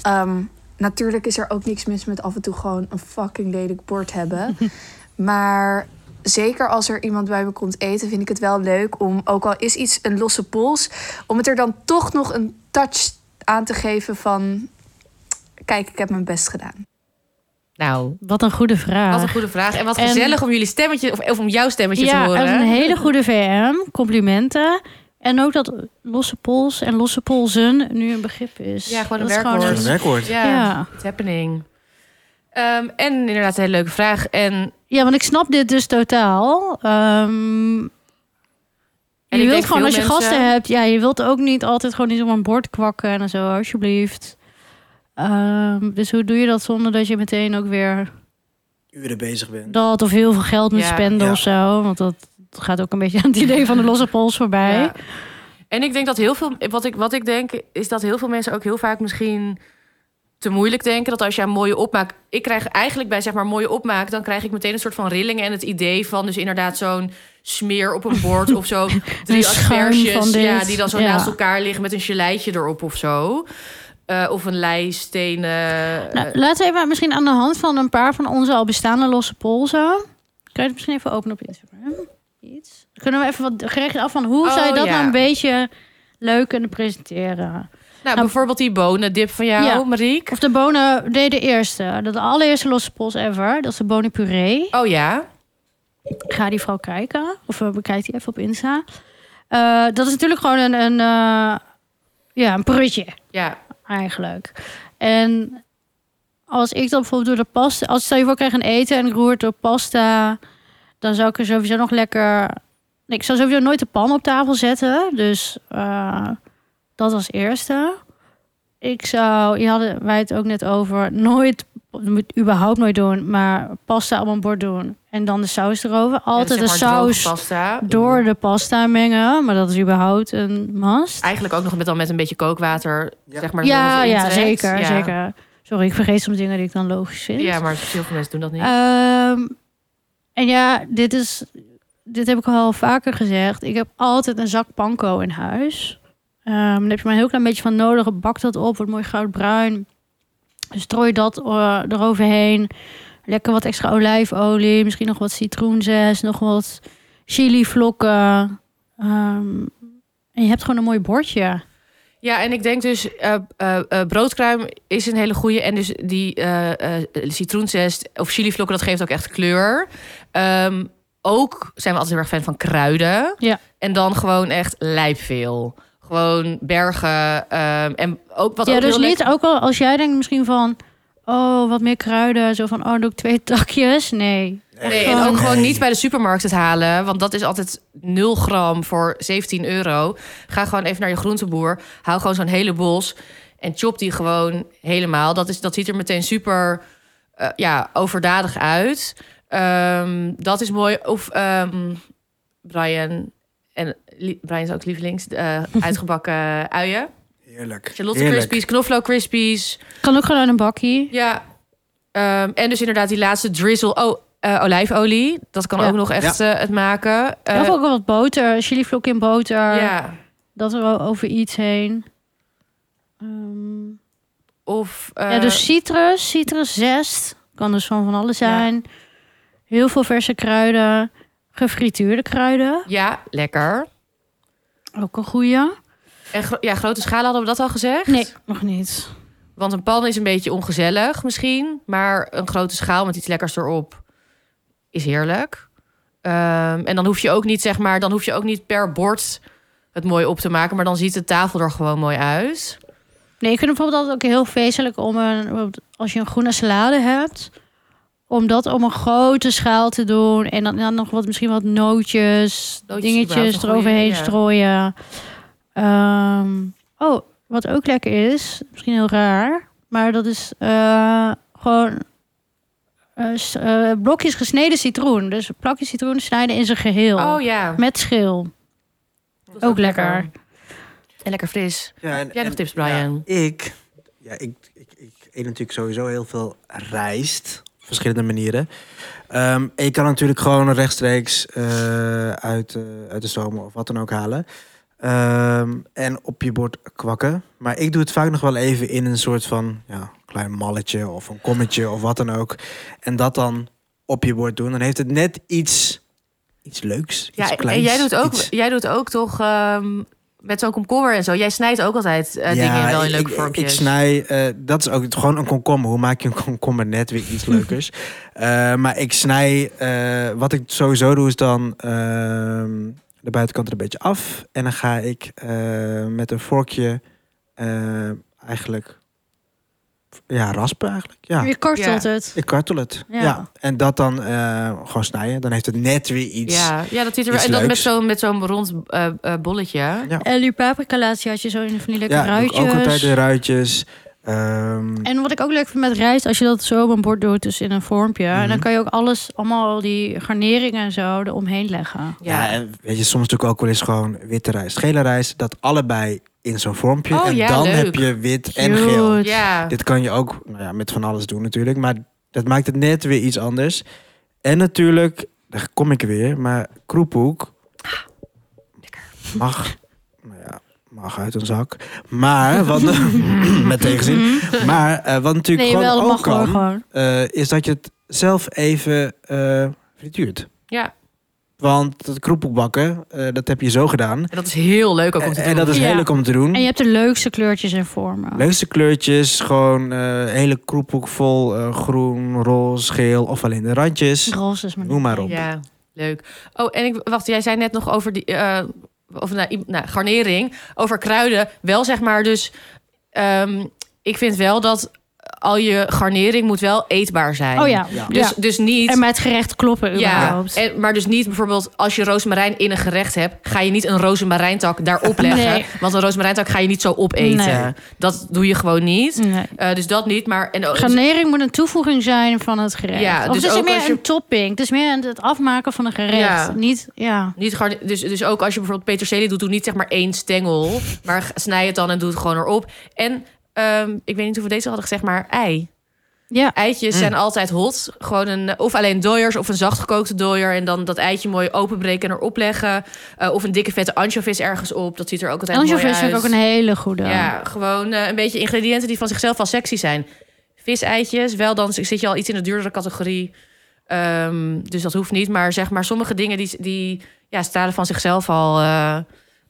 [SPEAKER 4] Ehm, natuurlijk is er ook niks mis met af en toe gewoon een fucking lelijk bord hebben. maar zeker als er iemand bij me komt eten, vind ik het wel leuk om, ook al is iets een losse pols, om het er dan toch nog een touch aan te geven van. Kijk, ik heb mijn best gedaan.
[SPEAKER 3] Nou,
[SPEAKER 2] Wat een goede
[SPEAKER 3] wat
[SPEAKER 2] vraag.
[SPEAKER 3] een goede vraag. En wat
[SPEAKER 2] En-
[SPEAKER 3] gezellig om jullie stemmetje, of, of om jouw stemmetje
[SPEAKER 2] ja,
[SPEAKER 3] te horen.
[SPEAKER 2] een hele goede VM. Complimenten. En ook dat losse pols en losse polsen nu een begrip is.
[SPEAKER 3] Ja, gewoon een
[SPEAKER 2] Dat is
[SPEAKER 1] Dat is
[SPEAKER 3] werkwoord.
[SPEAKER 1] een werkwoord.
[SPEAKER 3] Ja,
[SPEAKER 2] ja.
[SPEAKER 3] it's happening. Ehm, en inderdaad een hele leuke vraag. En
[SPEAKER 2] ja, want ik snap dit dus totaal. Ehm,
[SPEAKER 3] En
[SPEAKER 2] je
[SPEAKER 3] ik
[SPEAKER 2] wilt
[SPEAKER 3] denk
[SPEAKER 2] gewoon,
[SPEAKER 3] veel
[SPEAKER 2] als je
[SPEAKER 3] mensen-
[SPEAKER 2] gasten hebt, ja, je wilt ook niet altijd gewoon iets om een bord kwakken en zo, alsjeblieft. Ehm, dus hoe doe je dat zonder dat je meteen ook weer
[SPEAKER 1] Uren bezig bent.
[SPEAKER 2] dat of heel veel geld moet
[SPEAKER 3] Ja.
[SPEAKER 2] spenden
[SPEAKER 1] Ja.
[SPEAKER 2] of zo? Want dat gaat ook een beetje aan het idee van de losse pols voorbij.
[SPEAKER 3] Ja. En ik denk dat heel veel, wat ik, wat ik denk, is dat heel veel mensen ook heel vaak misschien te moeilijk denken dat als je een mooie opmaak. Ik krijg eigenlijk bij zeg maar mooie opmaak, dan krijg ik meteen een soort van rillingen en het idee van, dus inderdaad zo'n smeer op een bord of zo. Drie
[SPEAKER 2] schuim van
[SPEAKER 3] asperges,
[SPEAKER 2] dit.
[SPEAKER 3] ja, die dan zo
[SPEAKER 2] Ja.
[SPEAKER 3] naast elkaar liggen met een geleitje erop of zo. Eh, of een lei, stenen. Eh,
[SPEAKER 2] Nou, laten we even misschien aan de hand van een paar van onze al bestaande losse polsen. Kan je het misschien even openen op Instagram? Iets. Kunnen we even wat gerechten af van hoe zou je
[SPEAKER 3] Oh,
[SPEAKER 2] dat
[SPEAKER 3] ja.
[SPEAKER 2] nou een beetje leuk kunnen presenteren?
[SPEAKER 3] nou, bijvoorbeeld die bonendip van jou,
[SPEAKER 2] Ja.
[SPEAKER 3] Mariek.
[SPEAKER 2] Of de bonen deed de eerste. Dat de allereerste losse pols ever. Dat is de bonenpuree.
[SPEAKER 3] Oh ja.
[SPEAKER 2] Ga die vooral kijken. Of eh, bekijk die even op Insta. Eh, dat is natuurlijk gewoon een, een, eh, ja, een prutje
[SPEAKER 3] Ja,
[SPEAKER 2] eigenlijk. En als ik dan bijvoorbeeld door de pasta... Als stel je voor ik krijg een eten en ik roer het door pasta... Dan zou ik er sowieso nog lekker... nee, Ik zou sowieso nooit de pan op tafel zetten. Dus eh, dat als eerste. Ik zou... Je hadden wij het ook net over. Nooit, dat moet je überhaupt nooit doen. Maar pasta op een bord doen. En dan de saus erover. Altijd
[SPEAKER 3] Ja, dus
[SPEAKER 2] de
[SPEAKER 3] zeg maar droge
[SPEAKER 2] saus
[SPEAKER 3] Pasta.
[SPEAKER 2] door de pasta mengen. Maar dat is überhaupt een must.
[SPEAKER 3] Eigenlijk ook nog met, dan met een beetje kookwater.
[SPEAKER 1] Ja.
[SPEAKER 3] Zeg maar,
[SPEAKER 2] Ja,
[SPEAKER 3] zoals het
[SPEAKER 2] ja
[SPEAKER 3] intrekt.
[SPEAKER 2] zeker,
[SPEAKER 3] Ja.
[SPEAKER 2] zeker. Sorry, ik vergeet soms dingen die ik dan logisch vind.
[SPEAKER 3] Ja, maar veel mensen doen dat niet.
[SPEAKER 2] Ehm, en ja, dit is... Dit heb ik al vaker gezegd. Ik heb altijd een zak panko in huis. Ehm daar heb je maar een heel klein beetje van nodig. Bak dat op, wordt mooi goudbruin. Strooi dat eh, eroverheen. lekker wat extra olijfolie, misschien nog wat citroenzest, nog wat chilivlokken. Ehm, en je hebt gewoon een mooi bordje.
[SPEAKER 3] Ja, en ik denk dus eh eh, eh, broodkruim is een hele goeie. En dus die eh eh, citroenzest of chilivlokken, dat geeft ook echt kleur. Ehm, ook zijn we altijd heel erg fan van kruiden.
[SPEAKER 2] Ja.
[SPEAKER 3] En dan gewoon echt lijpveel. Gewoon bergen. ehm, en ook wat
[SPEAKER 2] ja,
[SPEAKER 3] ook
[SPEAKER 2] dus
[SPEAKER 3] heel
[SPEAKER 2] niet
[SPEAKER 3] lekker-
[SPEAKER 2] ook al als jij denkt misschien van, oh, wat meer kruiden, zo van, oh, doe ik twee takjes. Nee.
[SPEAKER 3] Nee, en ook gewoon niet bij de supermarkt het halen. Want dat is altijd 0 gram voor 17 euro. Ga gewoon even naar je groenteboer. Hou gewoon zo'n hele bos. En chop die gewoon helemaal. Dat, is, dat ziet er meteen super eh, ja, overdadig uit. Ehm, dat is mooi. Of ehm, Brian. En li- Brian is ook lievelings. eh, uitgebakken uien.
[SPEAKER 1] Heerlijk.
[SPEAKER 3] Charlotte
[SPEAKER 1] Heerlijk.
[SPEAKER 3] Crispies, knoflook Crispies.
[SPEAKER 2] Kan ook gewoon uit een bakkie.
[SPEAKER 3] Ja. Ehm, en dus inderdaad die laatste drizzle. Oh, eh, olijfolie. Dat kan
[SPEAKER 2] Ja.
[SPEAKER 3] ook nog echt eh, het maken. Eh,
[SPEAKER 2] of ook wel wat boter, chilivlok in boter.
[SPEAKER 3] ja.
[SPEAKER 2] Dat er wel over iets heen. Ehm,
[SPEAKER 3] Of
[SPEAKER 2] ja,
[SPEAKER 3] eh,
[SPEAKER 2] dus citrus, citruszest. Kan dus van van alles zijn. Heel veel verse kruiden. Gefrituurde kruiden.
[SPEAKER 3] ja, lekker.
[SPEAKER 2] Ook een goeie.
[SPEAKER 3] En gro- ja, grote schaal hadden we dat al gezegd.
[SPEAKER 2] Nee, nog niet.
[SPEAKER 3] Want een pan is een beetje ongezellig misschien. Maar een grote schaal met iets lekkers erop is heerlijk. Ehm, en dan hoef je ook niet, zeg maar, dan hoef je ook niet per bord het mooi op te maken. Maar dan ziet de tafel er gewoon mooi uit.
[SPEAKER 2] Nee, je kunt bijvoorbeeld altijd ook heel feestelijk om een... bijvoorbeeld Als je een groene salade hebt... Om dat op een grote schaal te doen. En dan, dan nog wat, misschien wat nootjes,
[SPEAKER 3] überhaupt een
[SPEAKER 2] dingetjes
[SPEAKER 3] goeie,
[SPEAKER 2] eroverheen
[SPEAKER 3] ja.
[SPEAKER 2] strooien. Ehm, oh, wat ook lekker is. Misschien heel raar. Maar dat is eh, gewoon eh, s- eh, blokjes gesneden citroen. Dus plakjes citroen snijden in zijn geheel.
[SPEAKER 3] Oh ja.
[SPEAKER 2] Met schil.
[SPEAKER 3] Dat is
[SPEAKER 2] ook lekker.
[SPEAKER 3] En lekker fris.
[SPEAKER 1] Ja, en-
[SPEAKER 3] Heb jij nog
[SPEAKER 1] en-
[SPEAKER 3] tips, Brian?
[SPEAKER 1] ja, ik, ja, ik, ik, ik eet natuurlijk sowieso heel veel rijst. Op verschillende manieren. Ehm, en je kan natuurlijk gewoon rechtstreeks eh, uit, eh, uit de zomer of wat dan ook halen. Ehm, en op je bord kwakken. Maar ik doe het vaak nog wel even in een soort van ja, klein malletje of een kommetje of wat dan ook. En dat dan op je bord doen. Dan heeft het net iets, iets leuks.
[SPEAKER 3] Ja,
[SPEAKER 1] iets kleins,
[SPEAKER 3] en jij doet ook,
[SPEAKER 1] iets-
[SPEAKER 3] jij doet ook toch ehm, met zo'n komkommer en zo. Jij snijdt ook altijd eh, dingen wel in
[SPEAKER 1] ik-
[SPEAKER 3] leuke
[SPEAKER 1] ik-
[SPEAKER 3] vormpjes.
[SPEAKER 1] Ik snij, eh, dat is ook het- gewoon een komkommer. Hoe maak je een komkommer net weer iets leukers? Eh, maar ik snij, eh, wat ik sowieso doe, is dan ehm, de buitenkant er een beetje af. En dan ga ik eh, met een vorkje eh, eigenlijk, ja, raspen eigenlijk. Ja.
[SPEAKER 2] Je kortelt
[SPEAKER 3] Ja.
[SPEAKER 2] het.
[SPEAKER 1] Ik kartel het.
[SPEAKER 2] Ja.
[SPEAKER 1] Ja. En dat dan eh, gewoon snijden. Dan heeft het net weer iets.
[SPEAKER 3] ja, ja, dat ziet er wel.
[SPEAKER 1] iets
[SPEAKER 3] En dat met
[SPEAKER 1] leuks.
[SPEAKER 3] zo'n met zo'n rond eh, eh, bolletje.
[SPEAKER 2] En die paprika laatst had je zo in van die lekkere
[SPEAKER 1] Ja, doe ik
[SPEAKER 2] ruitjes.
[SPEAKER 1] ook altijd de ruitjes. Ehm,
[SPEAKER 2] En wat ik ook leuk vind met rijst, als je dat zo op een bord doet, dus in een vormpje. En dan
[SPEAKER 1] Mhm.
[SPEAKER 2] kan je ook alles, allemaal die garneringen en zo eromheen leggen.
[SPEAKER 1] Ja,
[SPEAKER 3] Ja.
[SPEAKER 1] en weet je, soms doe ik ook wel eens gewoon witte rijst, gele rijst. Dat allebei in zo'n vormpje.
[SPEAKER 3] Oh,
[SPEAKER 1] en
[SPEAKER 3] ja,
[SPEAKER 1] dan
[SPEAKER 3] leuk.
[SPEAKER 1] heb je wit en
[SPEAKER 2] Cute.
[SPEAKER 1] geel.
[SPEAKER 2] Goed.
[SPEAKER 3] Ja.
[SPEAKER 1] Dit kan je ook nou ja, met van alles doen natuurlijk. Maar dat maakt het net weer iets anders. En natuurlijk, daar kom ik weer, maar kroephoek mag, nou ja, mag uit een zak. Maar, wat, met tegenzin. Maar eh, wat natuurlijk
[SPEAKER 2] Mhm. Nee,
[SPEAKER 1] gewoon
[SPEAKER 2] wel,
[SPEAKER 1] ook
[SPEAKER 2] mag wel
[SPEAKER 1] kan,
[SPEAKER 2] gewoon.
[SPEAKER 1] eh, is dat je het zelf even eh frituurt.
[SPEAKER 3] ja.
[SPEAKER 1] Want dat kroepelbakken, dat heb je zo gedaan.
[SPEAKER 3] En dat is heel leuk ook om te
[SPEAKER 1] Eh,
[SPEAKER 3] doen.
[SPEAKER 1] en dat is
[SPEAKER 2] Ja.
[SPEAKER 1] heel leuk om te doen.
[SPEAKER 2] En je hebt de leukste kleurtjes en vormen.
[SPEAKER 1] Leukste kleurtjes, gewoon eh hele kroephoek vol eh, groen, roze, geel of alleen de randjes.
[SPEAKER 2] Roze is maar
[SPEAKER 1] Noem maar op.
[SPEAKER 3] Ja, leuk. Oh, en ik wacht, jij zei net nog over die eh, of nou, i- nou, garnering, over kruiden. Wel zeg maar, dus ehm, ik vind wel dat al je garnering moet wel eetbaar zijn.
[SPEAKER 2] Oh ja.
[SPEAKER 1] Ja.
[SPEAKER 3] Dus,
[SPEAKER 2] Dus,
[SPEAKER 3] dus niet.
[SPEAKER 2] En bij het gerecht kloppen
[SPEAKER 3] Ja,
[SPEAKER 2] überhaupt.
[SPEAKER 3] en, maar dus niet bijvoorbeeld als je rozemarijn in een gerecht hebt, ga je niet een rozemarijntak daarop leggen.
[SPEAKER 2] Nee.
[SPEAKER 3] Want een rozemarijntak ga je niet zo opeten.
[SPEAKER 2] Nee.
[SPEAKER 3] Dat doe je gewoon niet.
[SPEAKER 2] Nee.
[SPEAKER 3] Eh, dus dat niet, maar en,
[SPEAKER 2] Garnering moet een toevoeging zijn van het gerecht.
[SPEAKER 3] Ja,
[SPEAKER 2] of
[SPEAKER 3] dus
[SPEAKER 2] het is
[SPEAKER 3] ook
[SPEAKER 2] meer
[SPEAKER 3] als je-
[SPEAKER 2] een topping. Het is meer een- het afmaken van een gerecht.
[SPEAKER 3] Ja.
[SPEAKER 2] Niet, ja.
[SPEAKER 3] niet garne- dus, dus ook als je bijvoorbeeld peterselie doet, doe niet zeg maar één stengel, maar g- snij het dan en doe het gewoon erop. En ehm, ik weet niet hoeveel deze hadden gezegd, maar ei.
[SPEAKER 2] Ja.
[SPEAKER 3] Eitjes
[SPEAKER 1] Mm.
[SPEAKER 3] zijn altijd hot. Gewoon een, of alleen dooiers of een zacht gekookte dooier. En dan dat eitje mooi openbreken en erop leggen. Eh, of een dikke vette anchovis ergens op. Dat ziet er ook altijd
[SPEAKER 2] En
[SPEAKER 3] mooi uit.
[SPEAKER 2] is ook een hele goede.
[SPEAKER 3] Ja, gewoon eh, een beetje ingrediënten die van zichzelf al sexy zijn. viseitjes. Wel dan zit je al iets in de duurdere categorie. Ehm, dus dat hoeft niet. Maar zeg maar, sommige dingen die, die ja, stralen van zichzelf al eh,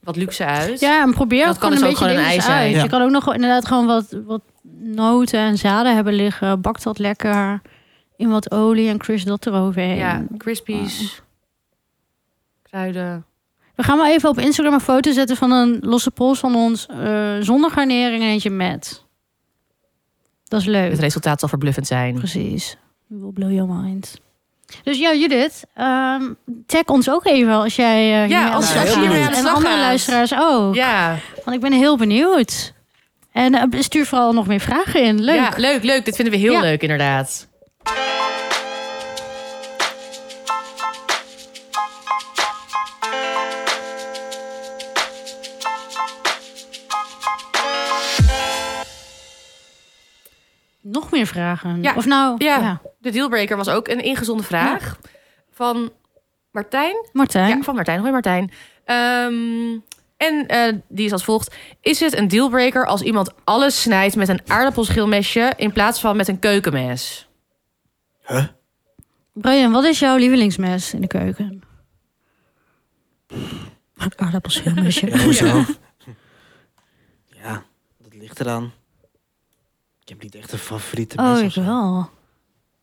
[SPEAKER 3] wat luxe uit.
[SPEAKER 2] Ja, en probeer
[SPEAKER 3] Dus Dat
[SPEAKER 2] ook
[SPEAKER 3] kan
[SPEAKER 2] gewoon een
[SPEAKER 3] dus ook
[SPEAKER 2] beetje
[SPEAKER 3] gewoon een
[SPEAKER 2] dingetjes
[SPEAKER 3] ei zijn.
[SPEAKER 2] uit.
[SPEAKER 1] Ja.
[SPEAKER 2] Je kan ook nog wel inderdaad gewoon wat, wat noten en zaden hebben liggen. Bak dat lekker in wat olie en crush dat eroverheen.
[SPEAKER 3] Ja, crispies, kruiden.
[SPEAKER 2] We gaan wel even op Instagram een foto zetten van een losse pols van ons eh, zonder garnering en eentje met. Dat is leuk.
[SPEAKER 3] Het resultaat zal verbluffend zijn.
[SPEAKER 2] Precies. We will blow your mind. Dus ja, Judith, ehm, tag ons ook even als jij eh, hiermee aan
[SPEAKER 3] als-
[SPEAKER 2] de slag
[SPEAKER 1] als je hiermee
[SPEAKER 2] gaat.
[SPEAKER 3] aan de
[SPEAKER 2] En
[SPEAKER 3] slag
[SPEAKER 2] andere
[SPEAKER 3] gaat.
[SPEAKER 2] luisteraars ook.
[SPEAKER 3] Ja,
[SPEAKER 2] Want ik ben heel benieuwd. En eh, stuur vooral nog meer vragen in. Leuk.
[SPEAKER 3] Ja, leuk, leuk. Dit vinden we heel
[SPEAKER 2] Ja.
[SPEAKER 3] leuk, inderdaad.
[SPEAKER 2] Nog meer vragen.
[SPEAKER 3] Ja.
[SPEAKER 2] Of nou,
[SPEAKER 3] Ja.
[SPEAKER 2] ja.
[SPEAKER 3] De dealbreaker was ook een ingezonde vraag van Martijn.
[SPEAKER 2] Martijn.
[SPEAKER 3] Ja, van Martijn. Hoi Martijn. Ehm, en eh, die is als volgt. Is het een dealbreaker als iemand alles snijdt met een aardappelschilmesje in plaats van met een keukenmes?
[SPEAKER 2] Brian, wat is jouw lievelingsmes in de keuken? Aardappelschilmesje.
[SPEAKER 1] Ja, hoezo? ja, dat ligt eraan. Ik heb niet echt een favoriete mes
[SPEAKER 2] Oh,
[SPEAKER 1] of
[SPEAKER 2] ik
[SPEAKER 1] zo.
[SPEAKER 2] wel.
[SPEAKER 1] Nou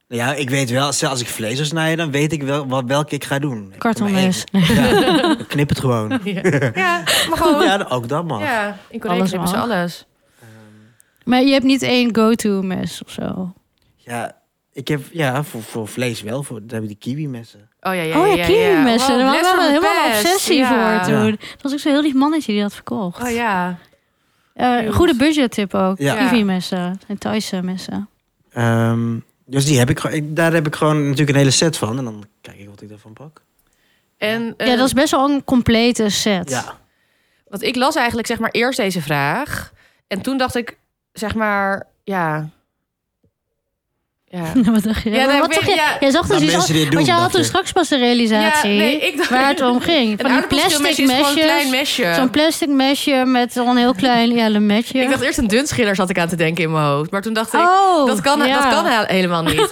[SPEAKER 1] ja, ik weet wel, zelfs als ik vlees wil snijden, dan weet ik wel wat, welke ik ga doen. Ik
[SPEAKER 2] Kartonmes.
[SPEAKER 1] heb er maar één. Ja, ik knip het gewoon.
[SPEAKER 3] Ja, maar gewoon. Ja,
[SPEAKER 1] Ja, ook dat mag.
[SPEAKER 3] in Korea
[SPEAKER 2] Alles
[SPEAKER 3] hebben ze
[SPEAKER 2] mag.
[SPEAKER 3] alles.
[SPEAKER 2] Maar je hebt niet één go-to mes of zo.
[SPEAKER 1] Ja, ik heb, ja voor, voor vlees wel, voor, dan heb je die kiwi-messen.
[SPEAKER 3] Oh ja, ja,
[SPEAKER 2] oh ja,
[SPEAKER 3] ja,
[SPEAKER 2] kiwi-messen.
[SPEAKER 3] Wow,
[SPEAKER 2] Daar
[SPEAKER 3] les
[SPEAKER 2] waren we
[SPEAKER 3] van de
[SPEAKER 2] helemaal een
[SPEAKER 3] pest.
[SPEAKER 2] obsessie
[SPEAKER 3] Ja.
[SPEAKER 2] voor toen. Dat was ook zo'n heel lief mannetje die dat verkocht.
[SPEAKER 3] Oh ja.
[SPEAKER 2] Eh,
[SPEAKER 3] Cute.
[SPEAKER 2] goede budgettip ook.
[SPEAKER 1] Ja.
[SPEAKER 2] Kiwi-messen en Thaise messen.
[SPEAKER 1] Ehm, dus die heb ik, gewoon- ik, daar heb ik gewoon natuurlijk een hele set van. En dan kijk ik wat ik daarvan pak.
[SPEAKER 3] En,
[SPEAKER 2] ja,
[SPEAKER 3] eh,
[SPEAKER 2] dat is best wel een complete set.
[SPEAKER 1] Ja,
[SPEAKER 3] Want ik las eigenlijk zeg maar eerst deze vraag. En toen dacht ik, zeg maar, ja. Ja,
[SPEAKER 2] wat dacht je?
[SPEAKER 3] Ja, nou, ik
[SPEAKER 2] wat
[SPEAKER 3] weet-
[SPEAKER 2] dacht je?
[SPEAKER 3] ja.
[SPEAKER 2] Jij zag dus
[SPEAKER 1] Nou,
[SPEAKER 2] iets
[SPEAKER 1] mensen die
[SPEAKER 2] anders.
[SPEAKER 1] het doen,
[SPEAKER 2] Want jij had
[SPEAKER 1] dacht
[SPEAKER 2] toen
[SPEAKER 1] ik.
[SPEAKER 2] straks pas de realisatie
[SPEAKER 3] Ja, nee, ik dacht-
[SPEAKER 2] waar het om ging. Van die
[SPEAKER 3] Een aardappelschilmesje
[SPEAKER 2] plastic
[SPEAKER 3] is gewoon een klein
[SPEAKER 2] mesjes.
[SPEAKER 3] mesje.
[SPEAKER 2] Zo'n plastic mesje met zo'n heel klein ja, lemetje.
[SPEAKER 3] Ik dacht eerst een dunschiller zat ik aan te denken in mijn hoofd. Maar toen dacht ik,
[SPEAKER 2] oh,
[SPEAKER 3] dat, kan,
[SPEAKER 2] ja.
[SPEAKER 3] dat kan he- helemaal niet.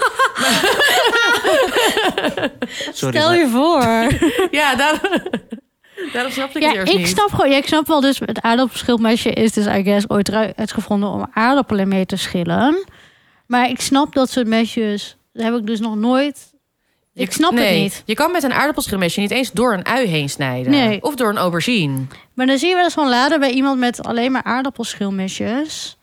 [SPEAKER 1] sorry.
[SPEAKER 2] Stel
[SPEAKER 1] maar-
[SPEAKER 2] je voor.
[SPEAKER 3] ja, daar, daarom snapte ik
[SPEAKER 2] Ja,
[SPEAKER 3] het eerst
[SPEAKER 2] ik
[SPEAKER 3] niet.
[SPEAKER 2] snap gewoon. Ja, ik snap wel. Dus het aardappelschilmesje is dus, I guess, ooit eruit- uitgevonden om aardappelen mee te schillen. Maar ik snap dat soort mesjes. Dat heb ik dus nog nooit.
[SPEAKER 3] Je-
[SPEAKER 2] Ik snap
[SPEAKER 3] nee,
[SPEAKER 2] het niet.
[SPEAKER 3] Je kan met een aardappelschilmesje niet eens door een ui heen snijden.
[SPEAKER 2] Nee.
[SPEAKER 3] Of door een aubergine.
[SPEAKER 2] Maar dan zie je wel eens zo'n lader bij iemand met alleen maar aardappelschilmesjes.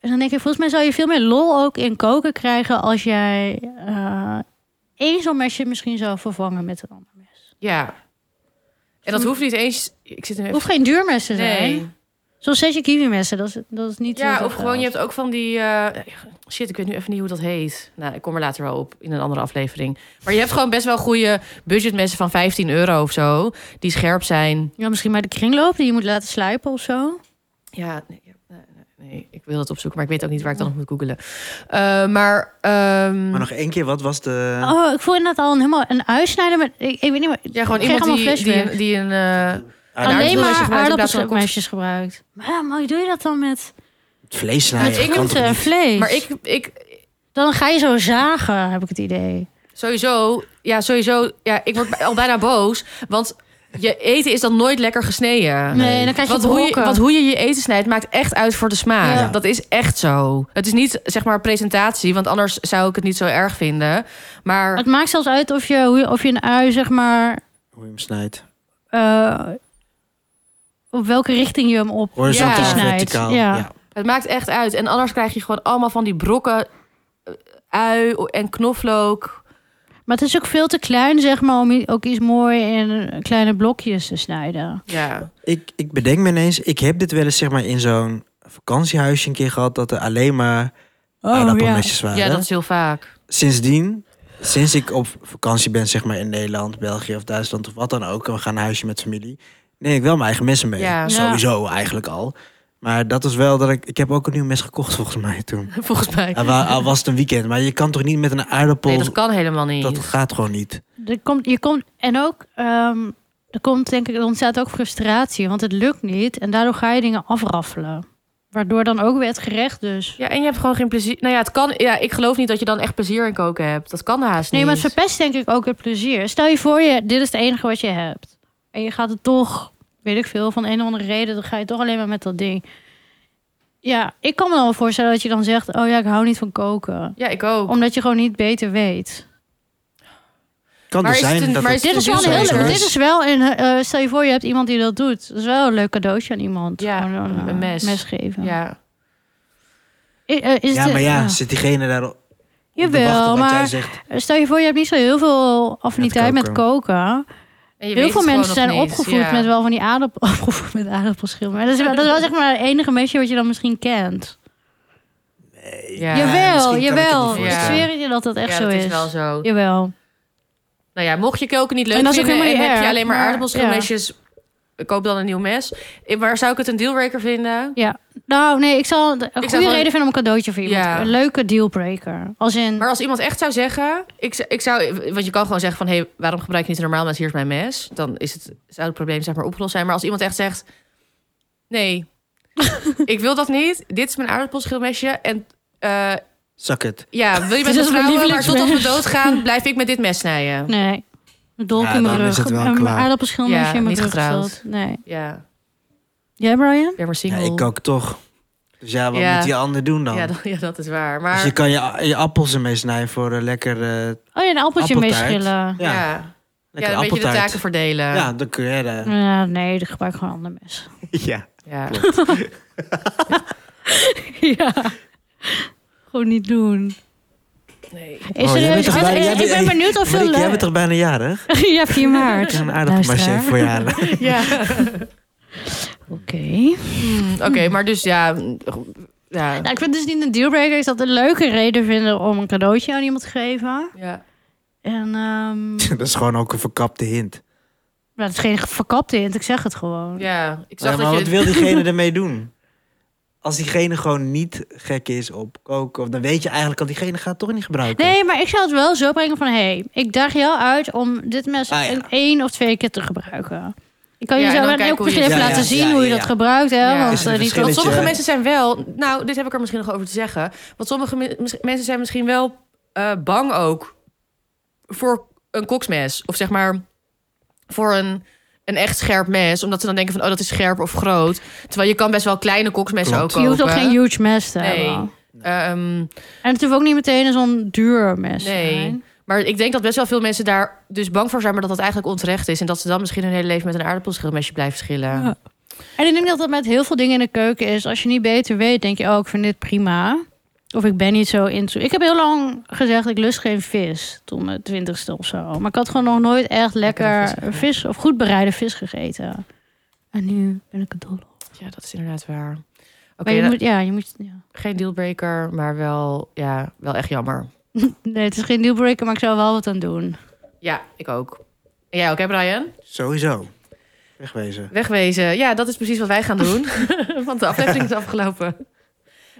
[SPEAKER 2] En dan denk ik, volgens mij zou je veel meer lol ook in koken krijgen als jij eh één zo'n mesje misschien zou vervangen met een ander mes.
[SPEAKER 3] Ja. En dat hoeft niet eens... Ik zit hem
[SPEAKER 2] Het
[SPEAKER 3] even...
[SPEAKER 2] Hm. hoeft geen duur mes te zijn.
[SPEAKER 3] Nee.
[SPEAKER 2] Zo'n setje kiwi messen, dat is, dat is niet... heel
[SPEAKER 3] Ja,
[SPEAKER 2] veel
[SPEAKER 3] of gewoon,
[SPEAKER 2] geld.
[SPEAKER 3] je hebt ook van die... eh, shit, ik weet nu even niet hoe dat heet. Nou, ik kom er later wel op in een andere aflevering. Maar je hebt gewoon best wel goede budgetmessen van 15 euro of zo. Die scherp zijn.
[SPEAKER 2] Ja, misschien bij de kringloop die je moet laten slijpen of zo.
[SPEAKER 3] Ja, nee, ja, nee, nee, nee, ik wil dat opzoeken, maar ik weet ook niet waar ik dan op moet googelen. Eh, maar, ehm,
[SPEAKER 1] Maar nog één keer, wat was de...
[SPEAKER 2] Oh, ik voel inderdaad al een, helemaal een uitsnijden. Maar ik, ik weet niet meer.
[SPEAKER 3] ja, gewoon
[SPEAKER 2] ik krijg
[SPEAKER 3] iemand die,
[SPEAKER 2] allemaal
[SPEAKER 3] die,
[SPEAKER 2] flashbacks.
[SPEAKER 3] een- die een... eh,
[SPEAKER 1] Ah,
[SPEAKER 2] Alleen
[SPEAKER 3] aardappelmesje
[SPEAKER 2] maar
[SPEAKER 3] gebruikt in plaats van een
[SPEAKER 2] aardappelmesjes gebruikt. Maar ja, maar hoe doe je dat dan met,
[SPEAKER 1] Het vlees snijden.
[SPEAKER 2] met eh,
[SPEAKER 1] dat kan toch
[SPEAKER 2] groenten en
[SPEAKER 1] niet?
[SPEAKER 2] vlees?
[SPEAKER 3] maar ik, ik,
[SPEAKER 2] Dan ga je zo zagen, heb ik het idee.
[SPEAKER 3] Sowieso, ja, sowieso. Ja, ik word b- al bijna boos. Want je eten is dan nooit lekker gesneden.
[SPEAKER 2] Nee, dan krijg je
[SPEAKER 3] want, hoe je,
[SPEAKER 2] brokken.
[SPEAKER 3] want hoe je je eten snijdt maakt echt uit voor de smaak.
[SPEAKER 1] Ja.
[SPEAKER 3] Dat is echt zo. Het is niet zeg maar presentatie, want anders zou ik het niet zo erg vinden. Maar
[SPEAKER 2] Het maakt zelfs uit of je, hoe je- of je een ui, zeg maar...
[SPEAKER 1] Hoe je hem snijdt.
[SPEAKER 2] eh, op welke richting je hem op
[SPEAKER 1] Horizontaal,
[SPEAKER 3] Ja.
[SPEAKER 2] snijdt.
[SPEAKER 1] verticaal.
[SPEAKER 2] Ja.
[SPEAKER 1] ja.
[SPEAKER 3] het maakt echt uit. En anders krijg je gewoon allemaal van die brokken eh, ui en knoflook.
[SPEAKER 2] Maar het is ook veel te klein, zeg maar, om i- ook iets mooi in kleine blokjes te snijden.
[SPEAKER 3] Ja.
[SPEAKER 1] Ik, ik bedenk me ineens, ik heb dit wel eens zeg maar in zo'n vakantiehuisje een keer gehad dat er alleen maar
[SPEAKER 2] Oh,
[SPEAKER 1] aardappelmesjes waren.
[SPEAKER 3] Oh, ja, dat is heel vaak.
[SPEAKER 1] Sindsdien, sinds ik op vakantie ben zeg maar in Nederland, België of Duitsland of wat dan ook, en we gaan naar huisje met familie, neem ik wel mijn eigen messen mee.
[SPEAKER 3] Ja.
[SPEAKER 1] Sowieso eigenlijk al. Maar dat is wel dat ik, ik heb ook een nieuw mes gekocht volgens mij toen.
[SPEAKER 3] Volgens mij.
[SPEAKER 1] Al wa- al was het een weekend, maar je kan toch niet met een aardappel,
[SPEAKER 3] Nee, dat kan helemaal niet.
[SPEAKER 1] dat gaat gewoon niet.
[SPEAKER 2] Er komt, je komt, en ook, ehm, er komt denk ik, er ontstaat ook frustratie, want het lukt niet. En daardoor ga je dingen afraffelen. Waardoor dan ook weer het gerecht dus.
[SPEAKER 3] Ja, en je hebt gewoon geen plezier. Nou ja, het kan, ja, ik geloof niet dat je dan echt plezier in koken hebt. Dat kan haast
[SPEAKER 2] Nee, maar
[SPEAKER 3] niet.
[SPEAKER 2] het verpest denk ik ook het plezier. Stel je voor, je, dit is het enige wat je hebt. En je gaat het toch, weet ik veel, van een of andere reden... dan ga je toch alleen maar met dat ding. Ja, ik kan me dan wel voorstellen dat je dan zegt... oh ja, ik hou niet van koken.
[SPEAKER 3] Ja, ik ook.
[SPEAKER 2] Omdat je gewoon niet beter weet.
[SPEAKER 1] Kan
[SPEAKER 3] Maar
[SPEAKER 1] er
[SPEAKER 3] is het
[SPEAKER 1] zijn
[SPEAKER 3] een-
[SPEAKER 1] dat
[SPEAKER 3] maar
[SPEAKER 1] het
[SPEAKER 2] Dit is wel
[SPEAKER 1] zo
[SPEAKER 2] een
[SPEAKER 3] heel
[SPEAKER 1] is.
[SPEAKER 2] hele... Dit is wel een... eh, stel je voor, je hebt iemand die dat doet. Dat is wel een leuk cadeautje aan iemand.
[SPEAKER 3] Ja,
[SPEAKER 2] Gewoon
[SPEAKER 3] een
[SPEAKER 2] eh,
[SPEAKER 3] mes.
[SPEAKER 2] geven.
[SPEAKER 3] Ja.
[SPEAKER 2] I- eh, is
[SPEAKER 1] Ja,
[SPEAKER 2] het-
[SPEAKER 1] maar ja, zit diegene daar op te wachten
[SPEAKER 2] Jawel,
[SPEAKER 1] wat jij
[SPEAKER 2] maar
[SPEAKER 1] zegt?
[SPEAKER 2] stel je voor, je hebt niet zo heel veel affiniteit met
[SPEAKER 1] koken.
[SPEAKER 2] koken.
[SPEAKER 3] En je weet
[SPEAKER 2] Heel veel
[SPEAKER 3] het gewoon
[SPEAKER 2] mensen zijn
[SPEAKER 3] nog niet.
[SPEAKER 2] opgevoed
[SPEAKER 3] Ja.
[SPEAKER 2] met wel van die aardappel, opgevoed met aardappelschillen. Maar dat is, wel, dat is wel zeg maar het enige mesje wat je dan misschien kent.
[SPEAKER 3] Ja,
[SPEAKER 2] jawel,
[SPEAKER 1] eh, misschien kan ik het
[SPEAKER 2] jawel.
[SPEAKER 1] niet
[SPEAKER 2] Ik,
[SPEAKER 3] voorstellen.
[SPEAKER 2] zweer het je dat dat echt
[SPEAKER 3] ja,
[SPEAKER 2] zo
[SPEAKER 3] dat
[SPEAKER 2] is.
[SPEAKER 3] is wel zo.
[SPEAKER 2] Jawel.
[SPEAKER 3] Nou ja, mocht je koken niet leuk
[SPEAKER 2] En dat is ook
[SPEAKER 3] vinden en
[SPEAKER 2] helemaal niet
[SPEAKER 3] heb je
[SPEAKER 2] erg,
[SPEAKER 3] alleen maar
[SPEAKER 2] maar-
[SPEAKER 3] aardappelschilmesjes, koop dan een nieuw mes. Ik- Maar zou ik het een dealbreaker vinden?
[SPEAKER 2] Nou, nee, ik zal een goede
[SPEAKER 3] gewoon-
[SPEAKER 2] reden vinden om een cadeautje voor iemand.
[SPEAKER 3] Ja.
[SPEAKER 2] Een leuke dealbreaker. Als in,
[SPEAKER 3] Maar als iemand echt zou zeggen, ik, z- ik zou, want je kan gewoon zeggen van, hé, hey, waarom gebruik je niet een normaal mes? Hier is mijn mes. Dan is het, zou het probleem zeg maar opgelost zijn. Maar als iemand echt zegt, nee, ik wil dat niet. Dit is mijn aardappelschilmesje en eh,
[SPEAKER 1] Zak het.
[SPEAKER 3] ja, wil je met
[SPEAKER 2] Het
[SPEAKER 3] me
[SPEAKER 2] is mijn
[SPEAKER 3] trouwen, maar totdat we
[SPEAKER 2] lievelingsmes.
[SPEAKER 3] doodgaan, blijf ik met dit mes snijden.
[SPEAKER 2] nee, een dolk
[SPEAKER 1] Ja,
[SPEAKER 2] in mijn
[SPEAKER 1] dan
[SPEAKER 2] rug.
[SPEAKER 1] is het wel
[SPEAKER 2] een
[SPEAKER 1] klaar.
[SPEAKER 2] aardappelschilmesje
[SPEAKER 3] Ja,
[SPEAKER 2] in mijn
[SPEAKER 3] niet
[SPEAKER 2] rug.
[SPEAKER 3] getrouwd.
[SPEAKER 2] gezet. Nee.
[SPEAKER 3] Ja, ik
[SPEAKER 2] Jij, Brian?
[SPEAKER 3] ben maar
[SPEAKER 1] Ja,
[SPEAKER 3] single.
[SPEAKER 1] ik kook toch. Dus ja, wat
[SPEAKER 3] Ja.
[SPEAKER 1] moet die ander doen dan?
[SPEAKER 3] Ja, dat, ja, dat is waar. Maar
[SPEAKER 1] Dus je kan je, je appels ermee snijden voor een lekker, eh,
[SPEAKER 2] Oh ja, een appeltje mee
[SPEAKER 1] Appeltaart.
[SPEAKER 2] schillen.
[SPEAKER 1] ja,
[SPEAKER 3] ja, ja,
[SPEAKER 1] lekker
[SPEAKER 3] een beetje de
[SPEAKER 1] appeltaart.
[SPEAKER 3] taken Mm. verdelen.
[SPEAKER 1] Ja, dan kun eh, jij daar.
[SPEAKER 2] Ja, nee, ik gebruik gewoon ander mes.
[SPEAKER 1] Ja.
[SPEAKER 3] Ja.
[SPEAKER 2] ja. Gewoon niet doen.
[SPEAKER 3] Nee.
[SPEAKER 2] Is
[SPEAKER 1] Oh,
[SPEAKER 2] er,
[SPEAKER 1] jij bent toch
[SPEAKER 2] is-
[SPEAKER 1] bij-
[SPEAKER 2] ik-
[SPEAKER 1] jij
[SPEAKER 2] ik ben
[SPEAKER 1] bent-
[SPEAKER 2] benieuwd of veel
[SPEAKER 1] Marieke, jij bent
[SPEAKER 2] leuk.
[SPEAKER 1] toch bijna jarig?
[SPEAKER 2] ja, 4
[SPEAKER 1] Ik
[SPEAKER 2] maart.
[SPEAKER 1] ga een aardappelmaché
[SPEAKER 2] Luisteraar.
[SPEAKER 1] voor je halen.
[SPEAKER 3] Ja.
[SPEAKER 2] Oké.
[SPEAKER 3] Mm, Oké, maar dus ja. mm, Ja.
[SPEAKER 2] Nou, ik vind het dus niet een dealbreaker. Ik zou het een leuke reden vinden om een cadeautje aan iemand te geven.
[SPEAKER 3] ja.
[SPEAKER 2] En ehm
[SPEAKER 1] dat is gewoon ook een verkapte hint.
[SPEAKER 2] maar het is geen verkapte hint, ik zeg het gewoon.
[SPEAKER 3] Ja, ik zag
[SPEAKER 1] Ja,
[SPEAKER 3] dat
[SPEAKER 1] maar
[SPEAKER 3] je...
[SPEAKER 1] wat wil diegene ermee doen? Als diegene gewoon niet gek is op koken, of dan weet je eigenlijk al, diegene gaat het toch niet gebruiken.
[SPEAKER 2] Nee, maar ik zou het wel zo brengen van... hé, hey, ik daag jou uit om dit mes
[SPEAKER 1] Ah, ja.
[SPEAKER 2] een één of twee keer te gebruiken. Ik kan
[SPEAKER 3] Ja,
[SPEAKER 2] je
[SPEAKER 3] en
[SPEAKER 2] zo
[SPEAKER 3] dan
[SPEAKER 2] en
[SPEAKER 3] kijken
[SPEAKER 2] ook
[SPEAKER 3] hoe je-
[SPEAKER 2] misschien even
[SPEAKER 1] Ja,
[SPEAKER 2] laten
[SPEAKER 1] ja,
[SPEAKER 2] zien
[SPEAKER 1] ja,
[SPEAKER 2] hoe je
[SPEAKER 1] ja,
[SPEAKER 2] dat
[SPEAKER 1] ja.
[SPEAKER 2] gebruilt. Hè?
[SPEAKER 3] Ja.
[SPEAKER 2] Want
[SPEAKER 3] Is
[SPEAKER 1] er
[SPEAKER 2] eh,
[SPEAKER 1] een
[SPEAKER 2] niet dat-
[SPEAKER 3] Want sommige
[SPEAKER 1] Beetje-
[SPEAKER 3] mensen zijn wel... Nou, dit heb ik er misschien nog over te zeggen. Want sommige me- mis- mensen zijn misschien wel eh, bang ook voor een koksmes. Of zeg maar voor een, een echt scherp mes. Omdat ze dan denken van, oh, dat is scherp of groot. Terwijl je kan best wel kleine koksmessen
[SPEAKER 1] Klopt.
[SPEAKER 3] ook
[SPEAKER 2] je
[SPEAKER 3] kopen.
[SPEAKER 2] hoeft ook geen huge mes te
[SPEAKER 3] Nee.
[SPEAKER 2] hebben.
[SPEAKER 3] Ehm,
[SPEAKER 2] En het hoeft ook niet meteen zo'n duur mes te
[SPEAKER 3] Nee.
[SPEAKER 2] zijn.
[SPEAKER 3] Maar ik denk dat best wel veel mensen daar dus bang voor zijn, maar dat dat eigenlijk onterecht is. En dat ze dan misschien hun hele leven met een aardappelschilmesje blijven schillen.
[SPEAKER 2] Ja. En ik denk dat dat met heel veel dingen in de keuken is. Als je niet beter weet, denk je, oh, ik vind dit prima. Of ik ben niet zo into... Ik heb heel lang gezegd, ik lust geen vis. Toen mijn twintigste of zo. Maar ik had gewoon nog nooit echt lekker
[SPEAKER 3] Lekkere
[SPEAKER 2] vis,
[SPEAKER 3] vis
[SPEAKER 2] of goed bereide vis gegeten. En nu ben ik het dol op.
[SPEAKER 3] Ja, dat is inderdaad waar. Oké,
[SPEAKER 2] maar je
[SPEAKER 3] nou,
[SPEAKER 2] moet... Ja, je moet... Ja.
[SPEAKER 3] geen dealbreaker, maar wel, ja, wel echt jammer.
[SPEAKER 2] Nee, het is geen dealbreaker, maar ik zou er wel wat aan doen.
[SPEAKER 3] Ja, ik ook. En jij ook, hè Brian?
[SPEAKER 1] Sowieso. Wegwezen.
[SPEAKER 3] Wegwezen. Ja, dat is precies wat wij gaan doen. Want de aflevering is afgelopen.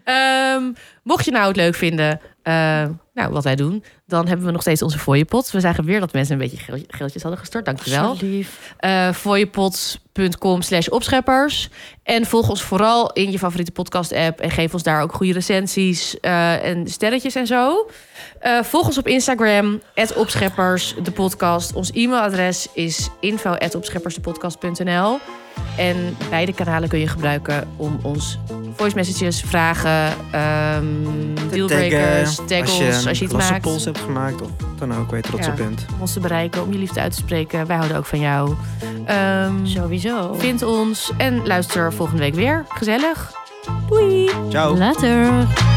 [SPEAKER 3] Ehm, mocht je nou het leuk vinden, eh, nou, wat wij doen... dan hebben we nog steeds onze fooiepot. We zagen weer dat mensen een beetje geel- geeltjes hadden gestort. Dankjewel.
[SPEAKER 2] Zo lief.
[SPEAKER 3] eh fooiepot.com slash opscheppers. En volg ons vooral in je favoriete podcast-app. En geef ons daar ook goede recensies eh, en sterretjes en zo. Eh, volg ons op Instagram, opscheppers, de podcast. Ons e-mailadres is info opscheppersdepodcast.nl. En beide kanalen kun je gebruiken om ons voice messages, vragen, ehm, dealbreakers,
[SPEAKER 1] Taggen,
[SPEAKER 3] taggels, als je,
[SPEAKER 1] een
[SPEAKER 3] iets
[SPEAKER 1] losse
[SPEAKER 3] maakt.
[SPEAKER 1] pols hebt gemaakt, of wat dan ook, waar je trots
[SPEAKER 3] Ja.
[SPEAKER 1] op bent.
[SPEAKER 3] Om ons te bereiken, om je liefde uit te spreken. Wij houden ook van jou. Ehm,
[SPEAKER 2] Sowieso.
[SPEAKER 3] Vind ons en luister volgende week weer. Gezellig.
[SPEAKER 1] Ciao.
[SPEAKER 2] Later.